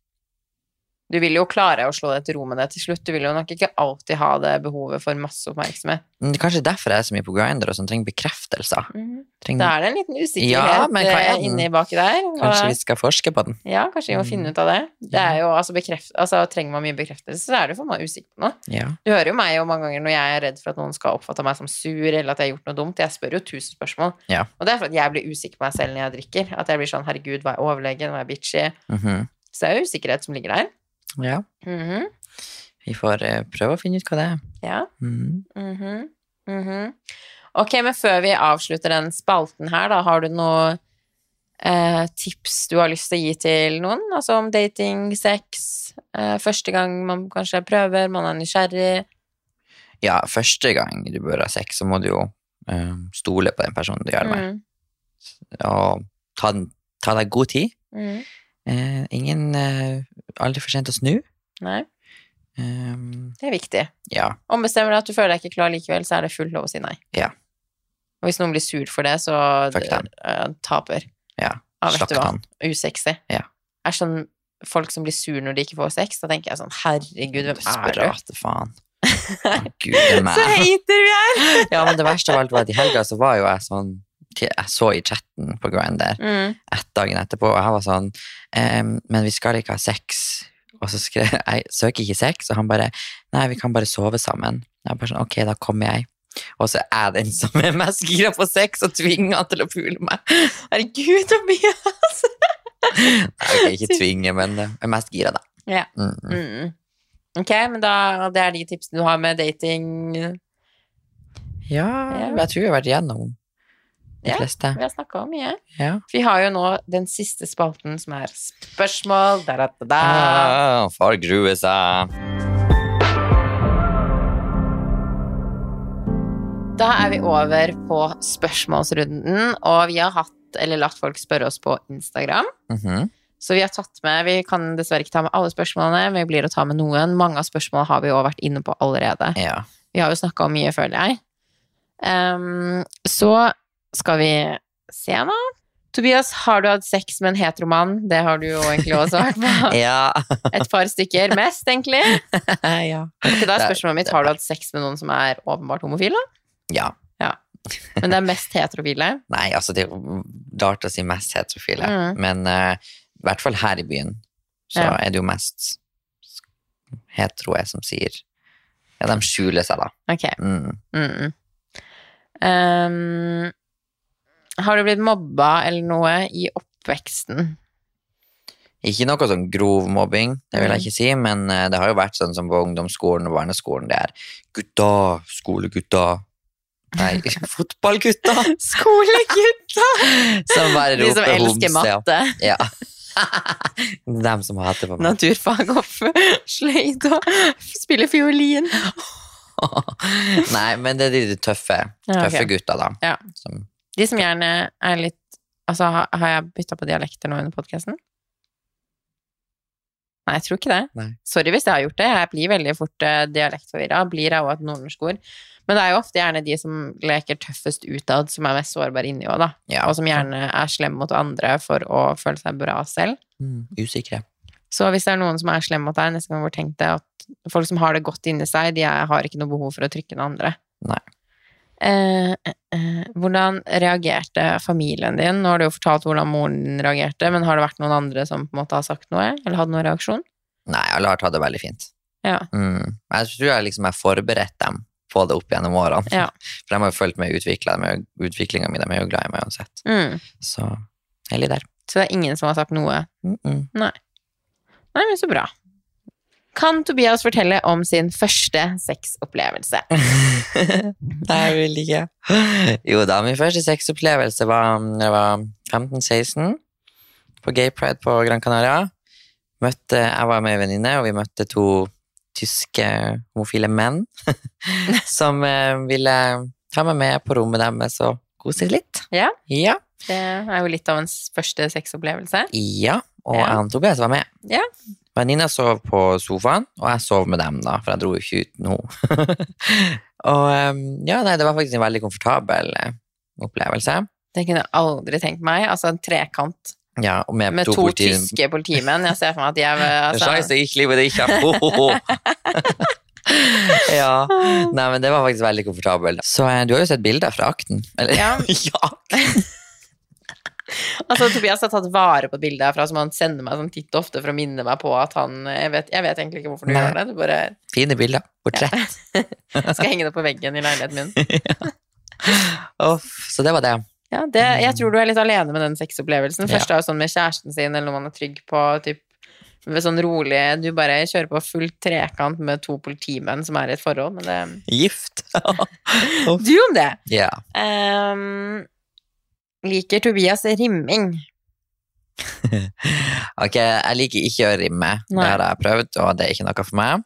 [SPEAKER 1] Du vil jo klare å slå deg til ro med det til slutt. Du vil jo nok ikke alltid ha det behovet for masse oppmerksomhet.
[SPEAKER 2] Men det er kanskje derfor jeg er så mye på Grindr og sånn, trenger bekreftelser.
[SPEAKER 1] Da
[SPEAKER 2] Trenger,
[SPEAKER 1] er det en liten
[SPEAKER 2] Mhm. Ja,
[SPEAKER 1] usikkerhet
[SPEAKER 2] men hva er
[SPEAKER 1] eh,
[SPEAKER 2] den?
[SPEAKER 1] inni baki der. og-
[SPEAKER 2] kanskje vi skal forske på den?
[SPEAKER 1] Ja, kanskje vi må
[SPEAKER 2] Mm.
[SPEAKER 1] finne ut av det. Det er jo, altså, bekreft, altså Trenger man mye bekreftelse, så er det jo for man er usikker på noe.
[SPEAKER 2] Ja.
[SPEAKER 1] Du hører jo meg jo mange ganger når jeg er redd for at noen skal oppfatte meg som sur, eller at jeg har gjort noe dumt. Jeg spør jo tusen spørsmål.
[SPEAKER 2] Ja.
[SPEAKER 1] Og det er for at jeg blir usikker på meg selv når jeg drikker. At jeg blir sånn 'herregud, var jeg overlegen? Var jeg bitchy?'
[SPEAKER 2] Mhm.
[SPEAKER 1] Så det er jo usikkerhet som ligger der.
[SPEAKER 2] ja.
[SPEAKER 1] Mhm.
[SPEAKER 2] Vi får eh, prøve å finne ut hva det er.
[SPEAKER 1] Ja.
[SPEAKER 2] Mhm.
[SPEAKER 1] Mhm, mhm. Ok, men før vi avslutter den spalten her, da, har du noe eh, tips du har lyst til å gi til noen? Altså om dating, sex, eh, første gang man kanskje prøver, man er nysgjerrig.
[SPEAKER 2] Ja, første gang du bør ha sex, så må du jo eh, stole på den personen du gjør det med.
[SPEAKER 1] Mm,
[SPEAKER 2] og ta, den- ta deg god tid.
[SPEAKER 1] mm,
[SPEAKER 2] Eh, ingen eh, Aldri for sent å snu.
[SPEAKER 1] Nei,
[SPEAKER 2] Ehm,
[SPEAKER 1] det er viktig.
[SPEAKER 2] ja.
[SPEAKER 1] Ombestemmer deg at du føler deg ikke klar likevel, så er det fullt lov å si nei.
[SPEAKER 2] Ja.
[SPEAKER 1] Og hvis noen blir sur for det, så
[SPEAKER 2] Fuck dem.
[SPEAKER 1] eh, taper.
[SPEAKER 2] Ja.
[SPEAKER 1] vet
[SPEAKER 2] Slakt
[SPEAKER 1] du hva.
[SPEAKER 2] han.
[SPEAKER 1] Usexy.
[SPEAKER 2] Ja.
[SPEAKER 1] Er sånn folk som blir sur når de ikke får sex, da tenker jeg sånn herregud, hvem er du?
[SPEAKER 2] Desperate faen. Å, Gud, det er meg.
[SPEAKER 1] Så hater vi er!
[SPEAKER 2] Ja, men det verste av alt var at i helga så var jo jeg sånn Jeg så i chatten på Grindr
[SPEAKER 1] Mm.
[SPEAKER 2] ett dagen etterpå, og jeg var sånn ehm, Men vi skal ikke ha sex. Og så skrev jeg jeg søker ikke sex, og han bare Nei, vi kan bare sove sammen. Jeg bare sånn, Ok, da kommer jeg. Og så er jeg den som er mest gira på sex, og tvinger han til å pule meg.
[SPEAKER 1] Herregud, Tobias!
[SPEAKER 2] Nei, ok, ikke tvinge, men eh, jeg er mest gira, da.
[SPEAKER 1] Ja.
[SPEAKER 2] Mm, mm.
[SPEAKER 1] Mm. Ok, men da, det er de tipsene du har med dating. Vi
[SPEAKER 2] Ja,
[SPEAKER 1] Ja.
[SPEAKER 2] jeg tror vi har vært igjennom de
[SPEAKER 1] Ja.
[SPEAKER 2] fleste.
[SPEAKER 1] har snakka om mye.
[SPEAKER 2] Ja.
[SPEAKER 1] Vi har jo nå den siste spalten, som er spørsmål. Da, da, da, da.
[SPEAKER 2] Ah, far gruer seg.
[SPEAKER 1] Da er vi over på spørsmålsrunden, og vi har hatt, eller latt folk spørre oss på Instagram.
[SPEAKER 2] Mhm.
[SPEAKER 1] Så vi har tatt med, vi kan dessverre ikke ta med alle spørsmålene, men vi blir å ta med noen. Mange av spørsmålene har vi jo vært inne på allerede.
[SPEAKER 2] Ja.
[SPEAKER 1] Vi har jo snakka om mye, føler jeg. Ehm, så skal vi se nå. Tobias, har du hatt sex med en heteroman? Det har du jo egentlig også vært på.
[SPEAKER 2] Ja.
[SPEAKER 1] Et par stykker. Mest, egentlig.
[SPEAKER 2] ja.
[SPEAKER 1] Ok, da er
[SPEAKER 2] Det er-
[SPEAKER 1] spørsmålet mitt, har du hatt sex med noen som er åpenbart homofil, da?
[SPEAKER 2] Ja.
[SPEAKER 1] Men det er mest heterofile.
[SPEAKER 2] Nei, altså det er jo rart å si mest heterofile,
[SPEAKER 1] Mm.
[SPEAKER 2] men eh, i hvert fall her i byen så
[SPEAKER 1] Ja.
[SPEAKER 2] er det jo mest heteroer som sier Ja, de skjuler seg, da.
[SPEAKER 1] Ok.
[SPEAKER 2] Mm.
[SPEAKER 1] Mm. Ehm, har du blitt mobba eller noe i oppveksten?
[SPEAKER 2] Ikke noe sånn grov mobbing, det vil
[SPEAKER 1] Mm.
[SPEAKER 2] jeg ikke si, men eh, det har jo vært sånn som på ungdomsskolen og barneskolen, det er gutta, skolegutta Nei, fotballgutta!
[SPEAKER 1] Skolegutta!
[SPEAKER 2] Som bare
[SPEAKER 1] De som
[SPEAKER 2] roper
[SPEAKER 1] elsker
[SPEAKER 2] homse. og-
[SPEAKER 1] matte.
[SPEAKER 2] Ja. Det er dem som hater på meg.
[SPEAKER 1] naturfag og sløyd og spille fiolin.
[SPEAKER 2] Nei, men det er de tøffe,
[SPEAKER 1] Ja, ok.
[SPEAKER 2] tøffe gutta, da.
[SPEAKER 1] Ja.
[SPEAKER 2] Som,
[SPEAKER 1] De som gjerne er litt Altså, ha- har jeg bytta på dialekter nå under podkasten? Nei, jeg tror ikke det.
[SPEAKER 2] Nei.
[SPEAKER 1] Sorry hvis jeg har gjort det. Jeg blir veldig fort eh, dialektforvirra. Blir jeg òg et nordnorsk ord. Men det er jo ofte gjerne de som leker tøffest utad, som er mest sårbare inni òg, da.
[SPEAKER 2] ja.
[SPEAKER 1] Og som gjerne er slem mot andre for å føle seg bra selv.
[SPEAKER 2] Mm, usikre.
[SPEAKER 1] Så hvis det er noen som er slem mot deg, neste gang hvor tenk deg at folk som har det godt inni seg, de er, har ikke noe behov for å trykke noen andre.
[SPEAKER 2] Nei.
[SPEAKER 1] Eh, eh, eh, hvordan reagerte familien din? Nå har du jo fortalt hvordan moren din reagerte, men har det vært noen andre som på en måte har sagt noe, eller hadde noen reaksjon?
[SPEAKER 2] Nei, alle har tatt det veldig fint.
[SPEAKER 1] Ja.
[SPEAKER 2] Mm. Jeg tror jeg liksom har forberedt dem på det opp gjennom årene.
[SPEAKER 1] Ja.
[SPEAKER 2] For de har jo fulgt med i utvikla- med utviklinga mi, de er jo glad i meg uansett.
[SPEAKER 1] Mm.
[SPEAKER 2] Så heldig der.
[SPEAKER 1] Så det er ingen som har sagt noe?
[SPEAKER 2] Mm -mm.
[SPEAKER 1] Nei, men så bra. Kan Tobias fortelle om sin første sexopplevelse?
[SPEAKER 2] Nei, jeg vil ikke. Jo da, min første sexopplevelse var da jeg var 15-16, på Gay Pride på Gran Canaria. Møtte, jeg var med en venninne, og vi møtte to tyske homofile menn som eh, ville ta meg med på rommet deres og kose litt.
[SPEAKER 1] Ja.
[SPEAKER 2] Ja.
[SPEAKER 1] Det er jo litt av en s- første sexopplevelse.
[SPEAKER 2] Ja, og
[SPEAKER 1] Ja.
[SPEAKER 2] jeg og Tobias var med.
[SPEAKER 1] Ja.
[SPEAKER 2] Venninna sov på sofaen, og jeg sov med dem, da, for jeg dro jo ikke uten henne. og um, ja, nei, det var faktisk en veldig komfortabel eh, opplevelse.
[SPEAKER 1] Det kunne jeg aldri tenkt meg. Altså en trekant
[SPEAKER 2] Ja, og med,
[SPEAKER 1] Med to,
[SPEAKER 2] politi-
[SPEAKER 1] tyske politimenn. Jeg ser for meg at jeg
[SPEAKER 2] En
[SPEAKER 1] altså,
[SPEAKER 2] sjanse gikk livet det ikke av. ja. Nei, men det var faktisk veldig komfortabelt. Så eh, du har jo sett bilder fra akten. Eller?
[SPEAKER 1] ja,
[SPEAKER 2] ja.
[SPEAKER 1] altså Tobias har tatt vare på bildet herfra, som han sender meg sånn titt og ofte for å minne meg på at han eh, Jeg vet, jeg vet egentlig ikke hvorfor du
[SPEAKER 2] Nei.
[SPEAKER 1] gjør det. Du bare
[SPEAKER 2] Fine bilder. Portrett.
[SPEAKER 1] skal henge det på veggen i leiligheten min.
[SPEAKER 2] Uff, så det var det.
[SPEAKER 1] Ja, det, jeg tror du er litt alene med den sexopplevelsen. Først er jo sånn med kjæresten sin, eller når man er trygg på typ, med sånn rolig Du bare kjører på full trekant med to politimenn som er i et forhold, men det
[SPEAKER 2] Gift.
[SPEAKER 1] Du om det!
[SPEAKER 2] ja.
[SPEAKER 1] Ehm, liker Tobias rimming?
[SPEAKER 2] Ok, jeg liker ikke å rimme.
[SPEAKER 1] Nei.
[SPEAKER 2] Det har jeg prøvd, og det er ikke noe for meg.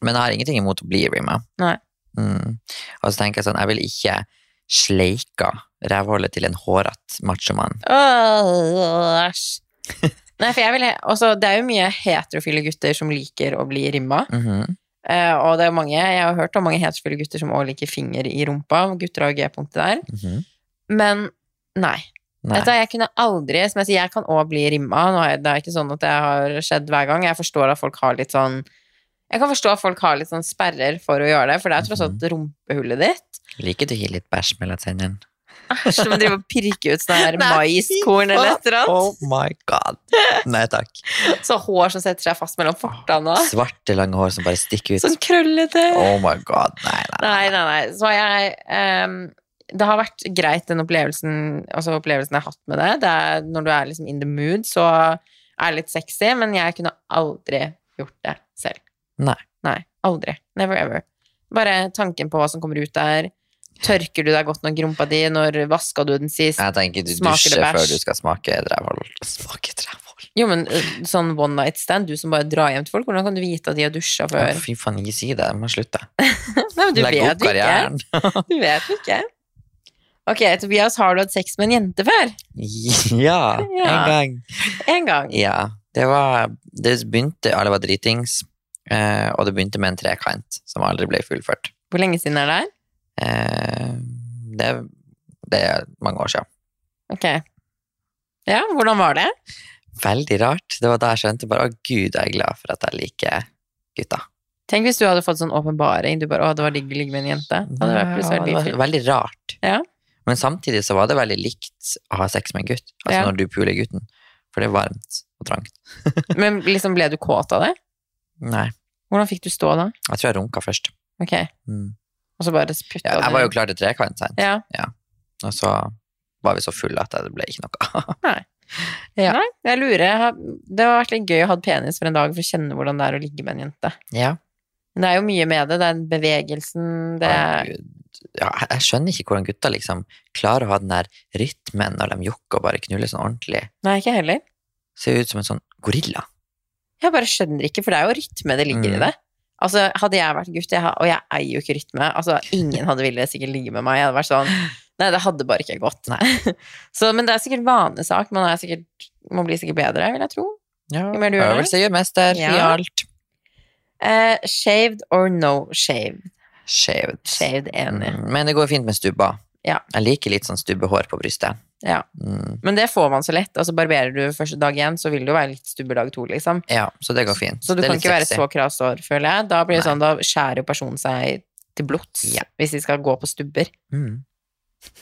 [SPEAKER 2] Men jeg har ingenting imot å bli rimma.
[SPEAKER 1] Nei.
[SPEAKER 2] Mm. Og så tenker jeg sånn, jeg vil ikke sleika rævhullet til en hårete machomann.
[SPEAKER 1] Åh, æsj. Nei, for jeg vil, he- også, det er jo mye heterofile gutter som liker å bli rimma.
[SPEAKER 2] Mhm.
[SPEAKER 1] Eh, og det er mange, jeg har hørt om mange heterofile gutter som også liker finger i rumpa. Gutter har G-punktet der.
[SPEAKER 2] Mhm.
[SPEAKER 1] Men nei.
[SPEAKER 2] Nei.
[SPEAKER 1] Vet du hva, jeg kunne aldri Som jeg sier, jeg kan òg bli rimma. Nå er det er ikke sånn at det har skjedd hver gang. Jeg forstår at folk har litt sånn Jeg kan forstå at folk har litt sånn sperrer for å gjøre det, for det er tross
[SPEAKER 2] Mhm.
[SPEAKER 1] alt rumpehullet ditt.
[SPEAKER 2] Liker du å gi litt bæsj mellom tennene?
[SPEAKER 1] Æsj, som driver og pirker ut sånne her
[SPEAKER 2] Nei,
[SPEAKER 1] maiskorn eller et eller annet.
[SPEAKER 2] Oh my god. Nei takk.
[SPEAKER 1] Så hår som setter seg fast mellom fortanna.
[SPEAKER 2] Svarte, lange hår som bare stikker ut.
[SPEAKER 1] Sånn krøllete.
[SPEAKER 2] Oh my god, nei, nei.
[SPEAKER 1] Nei, nei, nei. Så jeg ehm, Det har vært greit, den opplevelsen, altså opplevelsen jeg har hatt med det. det er, når du er liksom in the mood, så er det litt sexy, men jeg kunne aldri gjort det selv.
[SPEAKER 2] Nei.
[SPEAKER 1] Nei, Aldri. Never ever. Bare tanken på hva som kommer ut der. Tørker du deg godt nok i rumpa di? Når vaska du den sist?
[SPEAKER 2] Jeg tenker du
[SPEAKER 1] Smaker det
[SPEAKER 2] dusjer
[SPEAKER 1] bæsj?
[SPEAKER 2] før du skal smake drevhold. Smake drevhold.
[SPEAKER 1] Jo, men øh, sånn one night stand, du som bare drar hjem til folk, hvordan kan du vite at de har dusja
[SPEAKER 2] Å,
[SPEAKER 1] før?
[SPEAKER 2] Fy faen, ikke si det. Jeg må slutte.
[SPEAKER 1] Nei, men du
[SPEAKER 2] Legg
[SPEAKER 1] vet
[SPEAKER 2] opp
[SPEAKER 1] jo ikke.
[SPEAKER 2] karrieren.
[SPEAKER 1] Du vet jo ikke. Ok, Tobias, har du hatt sex med en jente før?
[SPEAKER 2] Ja,
[SPEAKER 1] Ja.
[SPEAKER 2] en gang.
[SPEAKER 1] En gang.
[SPEAKER 2] Ja, det var Det begynte, alle var dritings, eh, og det begynte med en trekant som aldri ble fullført.
[SPEAKER 1] Hvor lenge siden er det? her?
[SPEAKER 2] Eh, det, det er mange år siden.
[SPEAKER 1] Ok. Ja, hvordan var det?
[SPEAKER 2] Veldig rart. Det var da jeg skjønte bare, å gud, jeg er glad for at jeg liker gutta.
[SPEAKER 1] Tenk hvis du hadde fått sånn åpenbaring. Du bare 'Å, det var digg å ligge med en jente'. Det hadde vært plutselig veldig
[SPEAKER 2] Ja, det
[SPEAKER 1] fint.
[SPEAKER 2] var veldig rart.
[SPEAKER 1] Ja.
[SPEAKER 2] Men samtidig så var det veldig likt å ha sex med en gutt. Altså
[SPEAKER 1] Ja.
[SPEAKER 2] når du puler gutten. For det er varmt og trangt.
[SPEAKER 1] Men liksom, ble du kåt av det?
[SPEAKER 2] Nei,
[SPEAKER 1] Hvordan fikk du stå da?
[SPEAKER 2] jeg tror jeg runka først.
[SPEAKER 1] Ok, og
[SPEAKER 2] Mm.
[SPEAKER 1] så bare putta
[SPEAKER 2] Ja, jeg
[SPEAKER 1] du-
[SPEAKER 2] var jo klar til trekant, sant?
[SPEAKER 1] Ja.
[SPEAKER 2] Og så var vi så fulle at det ble ikke noe.
[SPEAKER 1] ja. Nei, jeg lurer. Jeg har- Det har vært litt gøy å ha penis for en dag for å kjenne hvordan det er å ligge med en jente.
[SPEAKER 2] ja.
[SPEAKER 1] Men det er jo mye med det. Det er den bevegelsen, det er
[SPEAKER 2] Herregud. ja, jeg- jeg skjønner ikke hvordan gutta liksom klarer å ha den der rytmen når de jokker og bare knuller sånn ordentlig.
[SPEAKER 1] Nei, ikke jeg heller.
[SPEAKER 2] Ser jo ut som en sånn gorilla.
[SPEAKER 1] Jeg bare skjønner ikke, for det er jo rytme det ligger i
[SPEAKER 2] Mm.
[SPEAKER 1] det. Altså, Hadde jeg vært gutt, jeg, ha- og jeg eier jo ikke rytme altså, Ingen hadde villet sikkert ligge med meg. Jeg hadde vært sånn Nei, det hadde bare ikke gått. Så, men det er sikkert vanesak. Man, er sikkert, man blir sikkert bedre, vil jeg tro.
[SPEAKER 2] Ja,
[SPEAKER 1] Jo mer du gjør det.
[SPEAKER 2] Øvelse gjør mester i
[SPEAKER 1] Ja.
[SPEAKER 2] alt.
[SPEAKER 1] Eh, shaved or no shaved?
[SPEAKER 2] Shaved.
[SPEAKER 1] Shaved, enig.
[SPEAKER 2] Mm, Men det går fint med stubba.
[SPEAKER 1] Ja.
[SPEAKER 2] Jeg liker litt sånn stubbehår på brystet.
[SPEAKER 1] Ja.
[SPEAKER 2] Mm,
[SPEAKER 1] Men det får man så lett. Altså, Barberer du første dag én, så vil det jo være litt stubber dag to, liksom.
[SPEAKER 2] ja, så det går fint.
[SPEAKER 1] Så du
[SPEAKER 2] det er
[SPEAKER 1] kan
[SPEAKER 2] litt
[SPEAKER 1] ikke være
[SPEAKER 2] sexy.
[SPEAKER 1] så kravstor, føler jeg. Da blir det
[SPEAKER 2] Nei.
[SPEAKER 1] sånn, da skjærer jo personen seg til blods
[SPEAKER 2] Ja.
[SPEAKER 1] hvis de skal gå på stubber.
[SPEAKER 2] Mm.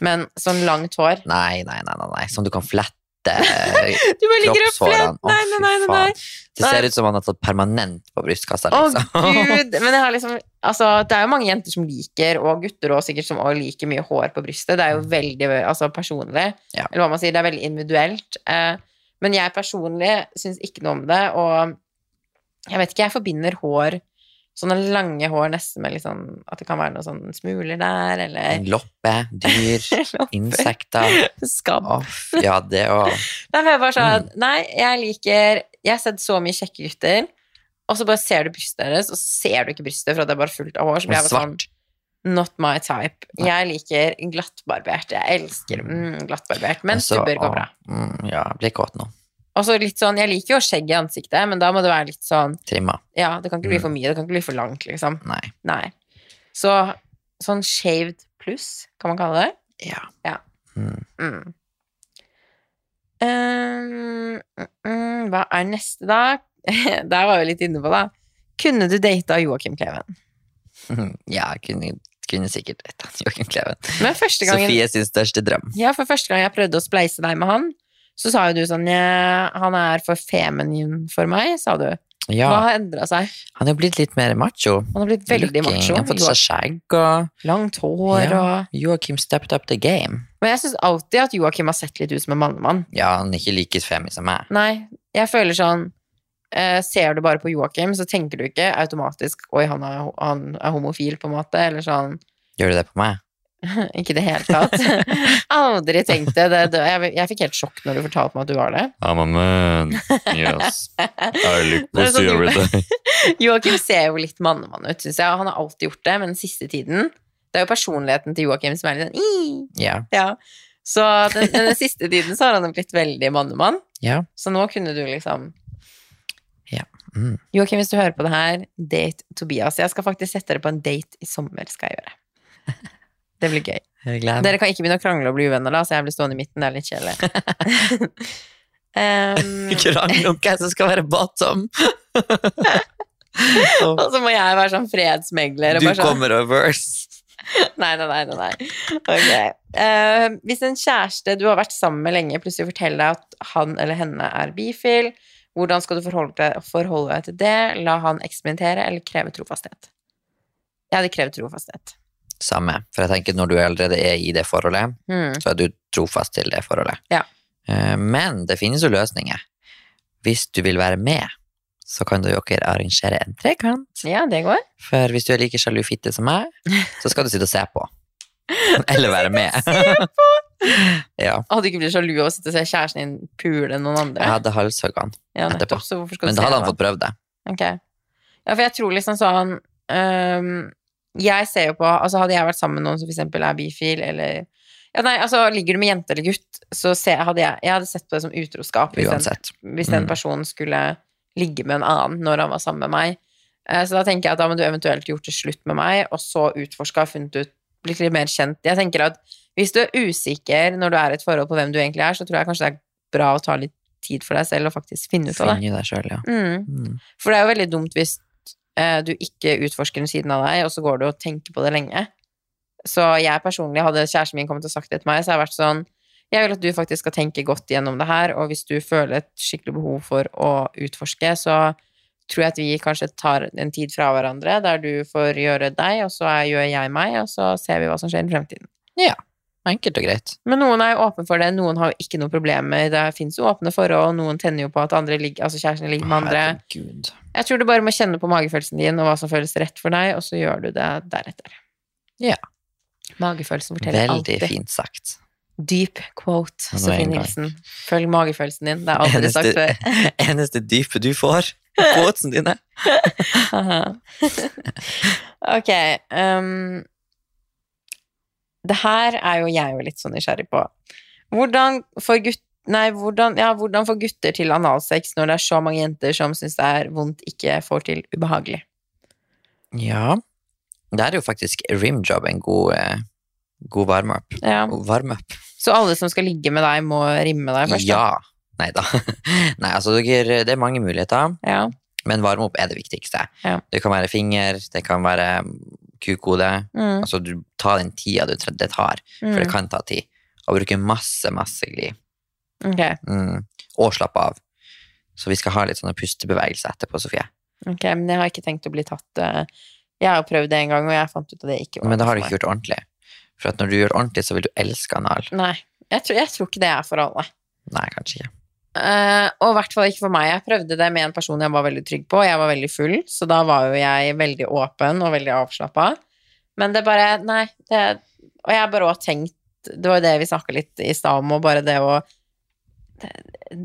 [SPEAKER 1] Men sånn langt hår
[SPEAKER 2] Nei, nei, nei, nei, nei. Som du kan flette
[SPEAKER 1] Du bare ligger og fletter!
[SPEAKER 2] kroppshårene. Å,
[SPEAKER 1] Nei, nei,
[SPEAKER 2] fy
[SPEAKER 1] nei, nei, nei.
[SPEAKER 2] faen. Det
[SPEAKER 1] Nei.
[SPEAKER 2] ser ut som han har tatt permanent på brystkassa,
[SPEAKER 1] Å,
[SPEAKER 2] liksom.
[SPEAKER 1] gud! Men jeg har liksom Altså, det er jo mange jenter som liker, og gutter også sikkert, som også liker mye hår på brystet. Det er jo veldig altså, personlig.
[SPEAKER 2] Mm. Ja.
[SPEAKER 1] Eller hva man sier. Det er veldig individuelt. Eh, men jeg personlig syns ikke noe om det, og jeg vet ikke, jeg forbinder hår Sånne lange hår nesten med litt sånn At det kan være noen sånne smuler der, eller
[SPEAKER 2] En Loppe, dyr, insekter.
[SPEAKER 1] skabb.
[SPEAKER 2] Å, f- ja, det òg.
[SPEAKER 1] Nei, for jeg bare sånn,
[SPEAKER 2] Mm.
[SPEAKER 1] nei, jeg liker Jeg har sett så mye kjekke gutter, og så bare ser du brystet deres, og så ser du ikke brystet, for at det er bare fullt av hår. Så blir jeg bare sånn
[SPEAKER 2] Svart.
[SPEAKER 1] Not my type. Jeg liker glattbarbert. Jeg elsker mm, glattbarbert, men
[SPEAKER 2] Så,
[SPEAKER 1] stubber går
[SPEAKER 2] Altså, å,
[SPEAKER 1] bra.
[SPEAKER 2] Mm, ja, jeg blir kåt nå.
[SPEAKER 1] Og så litt sånn, Jeg liker jo skjegg i ansiktet, men da må det være litt sånn
[SPEAKER 2] Trimma.
[SPEAKER 1] Ja, det kan ikke bli
[SPEAKER 2] Mm.
[SPEAKER 1] for mye, det kan ikke bli for langt, liksom.
[SPEAKER 2] Nei.
[SPEAKER 1] Nei. Så sånn shaved pluss, kan man kalle det.
[SPEAKER 2] Ja.
[SPEAKER 1] Ja.
[SPEAKER 2] Mm.
[SPEAKER 1] Mm. Um, mm, mm, hva er neste, da? Der var vi litt inne på, da. Kunne du data Joakim Kleven?
[SPEAKER 2] Mm. Ja, jeg kunne, kunne sikkert hett han Joakim Kleven.
[SPEAKER 1] Men første gangen,
[SPEAKER 2] Sofie sin største drøm.
[SPEAKER 1] ja, for første gang jeg prøvde å spleise deg med han, så sa jo du sånn «Nja, Han er for feminin for meg, sa du. Hva
[SPEAKER 2] Ja,
[SPEAKER 1] har endra seg?
[SPEAKER 2] han er jo blitt litt mer macho.
[SPEAKER 1] Han har blitt veldig
[SPEAKER 2] Looking,
[SPEAKER 1] macho.
[SPEAKER 2] Han har fått seg
[SPEAKER 1] Jo-
[SPEAKER 2] skjegg, og
[SPEAKER 1] Langt hår
[SPEAKER 2] Ja.
[SPEAKER 1] og
[SPEAKER 2] Joakim stepped up the game.
[SPEAKER 1] Men jeg syns alltid at Joakim har sett litt ut som en mannemann.
[SPEAKER 2] Ja, han er ikke like femi som meg.
[SPEAKER 1] Nei, jeg føler sånn eh, Ser du bare på Joakim, så tenker du ikke automatisk Oi, han er, han er homofil, på en måte. Eller sånn
[SPEAKER 2] Gjør du det på meg?
[SPEAKER 1] Ikke i det hele tatt. Aldri tenkte det. det jeg, jeg fikk helt sjokk når du fortalte meg at du var det.
[SPEAKER 2] I'm a man. Yes. I look
[SPEAKER 1] Det eh, er sånn every
[SPEAKER 2] day.
[SPEAKER 1] Joakim ser jo litt mannemann ut, syns jeg. og Han har alltid gjort det, men den siste tiden Det er jo personligheten til Joakim som er litt sånn «Ih!»
[SPEAKER 2] Ja.
[SPEAKER 1] ja. Så den, den siste tiden så har han jo blitt veldig mannemann.
[SPEAKER 2] Ja.
[SPEAKER 1] Så nå kunne du liksom
[SPEAKER 2] Ja. Mm.
[SPEAKER 1] Joakim, hvis du hører på det her, date Tobias. Jeg skal faktisk sette dere på en date i sommer, skal jeg gjøre. Det blir gøy.
[SPEAKER 2] Jeg gleder meg.
[SPEAKER 1] Dere kan ikke begynne å krangle og bli uvenner da, så jeg blir stående i midten. Det er litt kjedelig. Em,
[SPEAKER 2] Krangle om hvem som skal være bottom.
[SPEAKER 1] og så må jeg være sånn fredsmegler. og
[SPEAKER 2] Du
[SPEAKER 1] bare sånn,
[SPEAKER 2] kommer reverse.
[SPEAKER 1] Nei, nei, nei. nei, nei. Ok. Eh, hvis en kjæreste du har vært sammen med lenge, plutselig forteller deg at han eller henne er bifil, hvordan skal du forholde deg, forholde deg til det? La han eksperimentere, eller kreve trofasthet? Jeg hadde krevd trofasthet.
[SPEAKER 2] Samme. For jeg tenker når du allerede er i det forholdet,
[SPEAKER 1] Hmm.
[SPEAKER 2] så er du trofast til det forholdet.
[SPEAKER 1] Ja.
[SPEAKER 2] Eh, Men det finnes jo løsninger. Hvis du vil være med, så kan du jo ikke arrangere en trekant.
[SPEAKER 1] Ja, det går.
[SPEAKER 2] For hvis du er like sjalu fitte som meg, så skal du sitte og se på. Eller være med. ja.
[SPEAKER 1] Hadde du ikke blitt sjalu av å sitte og se kjæresten din pule noen andre?
[SPEAKER 2] Jeg hadde halshugga han,
[SPEAKER 1] Ja, nettopp.
[SPEAKER 2] etterpå.
[SPEAKER 1] Så hvorfor skal du
[SPEAKER 2] men da
[SPEAKER 1] se
[SPEAKER 2] hadde han
[SPEAKER 1] på?
[SPEAKER 2] fått prøvd det.
[SPEAKER 1] Ok. Ja, for jeg tror liksom sånn øhm, Jeg ser jo på Altså, hadde jeg vært sammen med noen som for eksempel er bifil, eller ja, nei, altså, Ligger du med jente eller gutt, så ser, hadde jeg, jeg hadde sett på det som utroskap hvis den,
[SPEAKER 2] Uansett.
[SPEAKER 1] hvis den
[SPEAKER 2] Mm.
[SPEAKER 1] personen skulle ligge med en annen når han var sammen med meg. Eh, Så da tenker jeg at da må du eventuelt gjort det slutt med meg, og så utforska og funnet ut Blitt litt mer kjent. Jeg tenker at hvis du er usikker når du er i et forhold på hvem du egentlig er, så tror jeg kanskje det er bra å ta litt tid for deg selv og faktisk finne ut av det.
[SPEAKER 2] Finn i deg sjøl, ja.
[SPEAKER 1] Mm.
[SPEAKER 2] Mm.
[SPEAKER 1] For det er jo veldig dumt hvis eh, du ikke utforsker den siden av deg, og så går du og tenker på det lenge. Så jeg personlig, hadde kjæresten min kommet og sagt det til meg, så har jeg vært sånn Jeg vil at du faktisk skal tenke godt gjennom det her, og hvis du føler et skikkelig behov for å utforske, så tror jeg at vi kanskje tar en tid fra hverandre, der du får gjøre deg, og så er- gjør jeg meg, og så ser vi hva som skjer i fremtiden.
[SPEAKER 2] Enkelt og greit.
[SPEAKER 1] Men noen er jo åpne for det, noen har jo ikke noen problemer. Det fins jo åpne forhold, noen tenner jo på at andre ligger, altså kjæresten ligger med andre.
[SPEAKER 2] Herregud.
[SPEAKER 1] Jeg tror du bare må kjenne på magefølelsen din og hva som føles rett for deg, og så gjør du det deretter.
[SPEAKER 2] Ja.
[SPEAKER 1] Magefølelsen forteller
[SPEAKER 2] Veldig
[SPEAKER 1] alltid.
[SPEAKER 2] fint sagt.
[SPEAKER 1] Deep quote,
[SPEAKER 2] Ja, det var en
[SPEAKER 1] Sofie
[SPEAKER 2] gang.
[SPEAKER 1] Nilsen. Følg magefølelsen din. Det er aldri sagt før.
[SPEAKER 2] eneste dype du får på båtsene dine.
[SPEAKER 1] Haha. ok. ehm, det her er jo jeg jo litt sånn nysgjerrig på. Hvordan får, gutt, nei, hvordan, ja, hvordan får gutter til analsex når det er så mange jenter som syns det er vondt, ikke får til ubehagelig?
[SPEAKER 2] Ja. Der er jo faktisk rimjob en god, eh, god varm-up.
[SPEAKER 1] Ja.
[SPEAKER 2] Varm-up?
[SPEAKER 1] Så alle som skal ligge med deg, må rimme deg først? da?
[SPEAKER 2] Ja. Nei da. Nei, altså, dere, det er mange muligheter,
[SPEAKER 1] ja.
[SPEAKER 2] men varm-up er det viktigste.
[SPEAKER 1] Ja.
[SPEAKER 2] Det kan være finger, det kan være kukhode.
[SPEAKER 1] Mm,
[SPEAKER 2] Altså, du tar den tida du tre- det tar, for det kan ta tid. Og bruke masse, masse gli.
[SPEAKER 1] mm. Ok,
[SPEAKER 2] Mm. Og slappe av. Så vi skal ha litt sånne pustebevegelser etterpå, Sofie.
[SPEAKER 1] ok, men jeg har ikke tenkt å bli tatt eh, Jeg har jo prøvd det en gang, og jeg fant ut at det ikke var
[SPEAKER 2] Men da har du
[SPEAKER 1] noe
[SPEAKER 2] ikke gjort det ordentlig. For at når du gjør det ordentlig, så vil du elske anal.
[SPEAKER 1] for meg. Nei, jeg tror, jeg tror ikke det er for alle.
[SPEAKER 2] Nei, kanskje ikke.
[SPEAKER 1] Eh, og i hvert fall ikke for meg. Jeg prøvde det med en person jeg var veldig trygg på. og Jeg var veldig full, så da var jo jeg veldig åpen og veldig avslappa. Men det bare Nei. Det, og jeg har bare også tenkt Det var jo det vi snakka litt i stad om, og bare det å det,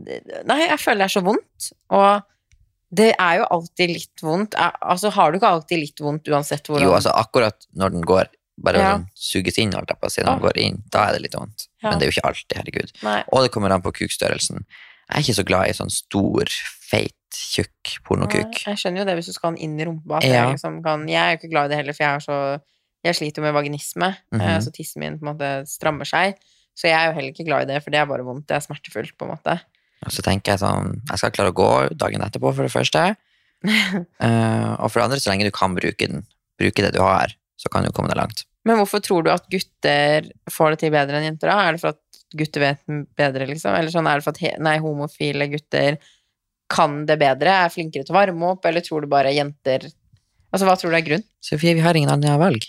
[SPEAKER 1] det- Nei, jeg føler det er så vondt. Og det er jo alltid litt vondt. Jeg, altså, har du ikke alltid litt vondt uansett hvordan
[SPEAKER 2] Jo, altså akkurat når den går, bare
[SPEAKER 1] Ja.
[SPEAKER 2] sånn suges inn, holdt jeg på å si, når den
[SPEAKER 1] Ja.
[SPEAKER 2] går inn, da er det litt vondt.
[SPEAKER 1] Ja.
[SPEAKER 2] Men det er jo ikke alltid, herregud.
[SPEAKER 1] Nei.
[SPEAKER 2] Og det kommer an på kukstørrelsen. Jeg er ikke så glad i sånn stor, feit, tjukk
[SPEAKER 1] Nei,
[SPEAKER 2] pornokuk.
[SPEAKER 1] Jeg skjønner jo det hvis du skal ha den inn i rumpa. At
[SPEAKER 2] Ja.
[SPEAKER 1] jeg, liksom kan, jeg er jo ikke glad i det heller, for jeg, er så, jeg sliter jo med vaginisme.
[SPEAKER 2] Mhm.
[SPEAKER 1] eh, Så tissen min på en måte strammer seg. Så jeg er jo heller ikke glad i det, for det er bare vondt. Det er smertefullt, på en måte.
[SPEAKER 2] Og så tenker jeg sånn, jeg skal klare å gå dagen etterpå, for det første. Eh, og for det andre, så lenge du kan bruke den, bruke det du har, så kan du komme deg langt.
[SPEAKER 1] Men hvorfor tror du at gutter får det til bedre enn jenter, da? Er det for at gutter vet m- bedre, liksom? Eller sånn, er det for at he nei, homofile gutter kan det bedre, er flinkere til å varme opp, eller tror du bare jenter Altså, hva tror du er grunn?
[SPEAKER 2] Sofie, vi har ingen andre valg.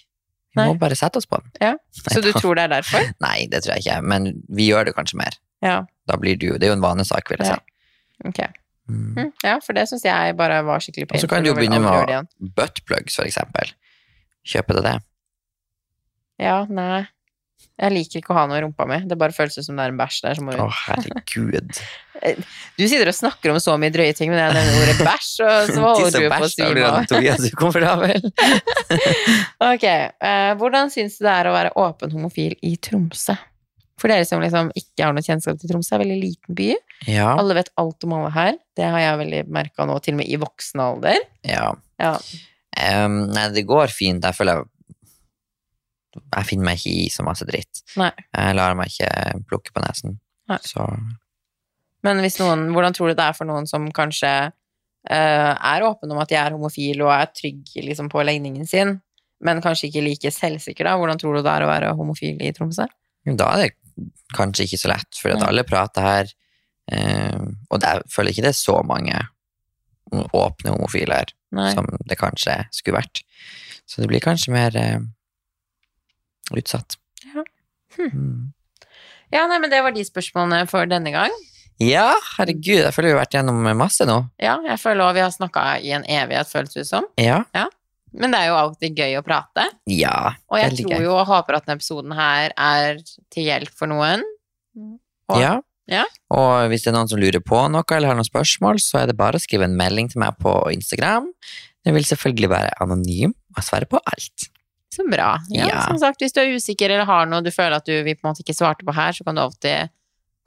[SPEAKER 2] Vi
[SPEAKER 1] Nei.
[SPEAKER 2] må bare sette oss på den.
[SPEAKER 1] Så du tror det er derfor?
[SPEAKER 2] Nei, det tror jeg ikke, men vi gjør det kanskje mer.
[SPEAKER 1] Ja.
[SPEAKER 2] Da blir det jo, det er jo en vanesak, vil jeg
[SPEAKER 1] Ja.
[SPEAKER 2] si.
[SPEAKER 1] Ok.
[SPEAKER 2] Mm.
[SPEAKER 1] Mm, ja, for det syns jeg bare var skikkelig
[SPEAKER 2] Og så
[SPEAKER 1] painful,
[SPEAKER 2] kan du jo
[SPEAKER 1] og vil
[SPEAKER 2] begynne med
[SPEAKER 1] aldri gjøre
[SPEAKER 2] å-
[SPEAKER 1] det igjen.
[SPEAKER 2] buttplugs, for eksempel. Kjøper du det?
[SPEAKER 1] Ja, nei. Jeg liker ikke å ha noe i rumpa mi. Det bare føles ut som det er en bæsj der som må
[SPEAKER 2] Å,
[SPEAKER 1] ut.
[SPEAKER 2] herregud.
[SPEAKER 1] Du sitter og snakker om så mye drøye ting, men jeg nevner ordet bæsj, og så holder du på å svime av.
[SPEAKER 2] Tobias ukomfortabel.
[SPEAKER 1] Ok, eh, hvordan syns du det er å være åpen homofil i Tromsø? For dere som liksom ikke har noe kjennskap til Tromsø, er en veldig liten by.
[SPEAKER 2] Ja.
[SPEAKER 1] Alle vet alt om alle her. Det har jeg veldig merka nå, til og med i voksen alder.
[SPEAKER 2] ja.
[SPEAKER 1] Ja.
[SPEAKER 2] Em, nei, det går fint. Jeg føler jeg Jeg finner meg ikke i så masse dritt.
[SPEAKER 1] Nei.
[SPEAKER 2] Jeg lar meg ikke plukke på nesen.
[SPEAKER 1] Nei.
[SPEAKER 2] Så
[SPEAKER 1] Men hvis noen, hvordan tror du det er for noen som kanskje eh, er åpen om at de er homofil og er trygg liksom, på legningen sin, men kanskje ikke like selvsikker, da? Hvordan tror du det er å være homofil i Tromsø?
[SPEAKER 2] da er det kanskje ikke så lett, for at
[SPEAKER 1] Nei.
[SPEAKER 2] alle prater her. em, og det- jeg føler ikke det er så mange åpne homofile her
[SPEAKER 1] Nei.
[SPEAKER 2] som det kanskje skulle vært. Så det blir kanskje mer em, utsatt.
[SPEAKER 1] Ja. Hm.
[SPEAKER 2] Mm.
[SPEAKER 1] Ja, nei, men det var de spørsmålene for denne gang.
[SPEAKER 2] ja, herregud, jeg føler vi har vært gjennom masse nå.
[SPEAKER 1] Ja, jeg føler også vi har snakka i en evighet, føles det som.
[SPEAKER 2] Ja.
[SPEAKER 1] Men det er jo alltid gøy å prate.
[SPEAKER 2] ja.
[SPEAKER 1] Og jeg
[SPEAKER 2] Veldig
[SPEAKER 1] tror
[SPEAKER 2] gøy.
[SPEAKER 1] jo og håper at denne episoden her er til hjelp for noen. Og-
[SPEAKER 2] Ja.
[SPEAKER 1] Ja.
[SPEAKER 2] Og hvis det er noen som lurer på noe eller har noen spørsmål, så er det bare å skrive en melding til meg på Instagram. Den vil selvfølgelig være anonym, og jeg svarer på alt.
[SPEAKER 1] Så bra. Ja,
[SPEAKER 2] Ja.
[SPEAKER 1] Som sagt, hvis du er usikker eller har noe du føler at du vi på en måte ikke svarte på her, så kan du alltid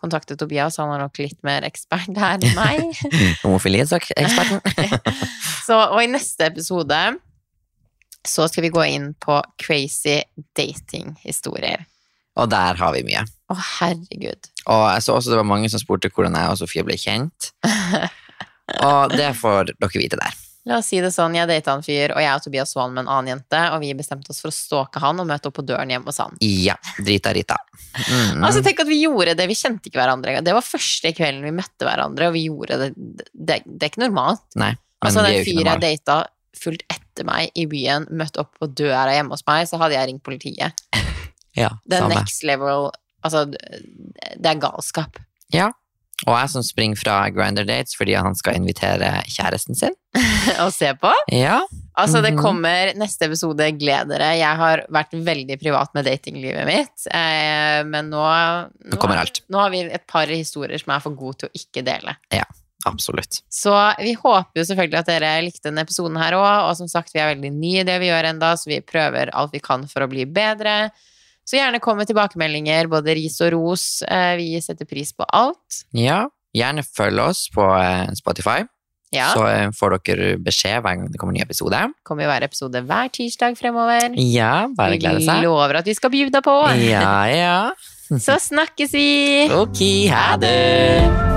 [SPEAKER 1] kontakte Tobias, han er nok litt mer ekspert her enn meg.
[SPEAKER 2] Homofilieksperten.
[SPEAKER 1] så, og i neste episode så skal vi gå inn på crazy datinghistorier.
[SPEAKER 2] Og der har vi mye.
[SPEAKER 1] Å, herregud.
[SPEAKER 2] Og jeg så også det var mange som spurte hvordan jeg og Sofie ble kjent. Og det får dere vite der.
[SPEAKER 1] La oss si det sånn, jeg data en fyr, og jeg og Tobias så han med en annen jente, og vi bestemte oss for å stalke han og møte opp på døren hjemme hos han.
[SPEAKER 2] Ja, drita Rita. Mm.
[SPEAKER 1] Altså, tenk at vi gjorde det. Vi kjente ikke hverandre engang. Det var første kvelden vi møtte hverandre, og vi gjorde det. Det, det er ikke normalt.
[SPEAKER 2] Nei, men
[SPEAKER 1] Altså,
[SPEAKER 2] vi er
[SPEAKER 1] den
[SPEAKER 2] jo ikke
[SPEAKER 1] fyren jeg
[SPEAKER 2] normale.
[SPEAKER 1] data fulgt etter meg i byen, møtte opp på døra hjemme hos meg, så hadde jeg ringt politiet.
[SPEAKER 2] Ja,
[SPEAKER 1] Det er
[SPEAKER 2] samme.
[SPEAKER 1] next level Altså, det er galskap.
[SPEAKER 2] Og jeg som springer fra Grinder Dates fordi han skal invitere kjæresten sin.
[SPEAKER 1] å se på.
[SPEAKER 2] Ja,
[SPEAKER 1] Altså, det
[SPEAKER 2] Mhm.
[SPEAKER 1] kommer neste episode. Gled dere. Jeg har vært veldig privat med datinglivet mitt, eh, men nå
[SPEAKER 2] nå kommer alt.
[SPEAKER 1] Nå har vi et par historier som er for gode til å ikke dele.
[SPEAKER 2] Absolutt.
[SPEAKER 1] Så vi håper jo selvfølgelig at dere likte denne episoden her òg. Og som sagt, vi er veldig nye i det vi gjør enda, så vi prøver alt vi kan for å bli bedre. Så gjerne kom med tilbakemeldinger, både ris og ros. Eh, Vi setter pris på alt.
[SPEAKER 2] Ja, gjerne følg oss på eh, Spotify,
[SPEAKER 1] Ja,
[SPEAKER 2] så eh, får dere beskjed hver gang det kommer en ny episode.
[SPEAKER 1] kommer jo hver episode hver tirsdag fremover.
[SPEAKER 2] Ja, bare glede
[SPEAKER 1] Vi
[SPEAKER 2] seg.
[SPEAKER 1] lover at vi skal bjuda på.
[SPEAKER 2] Ja, ja.
[SPEAKER 1] Så snakkes vi!
[SPEAKER 2] Ok, ha det!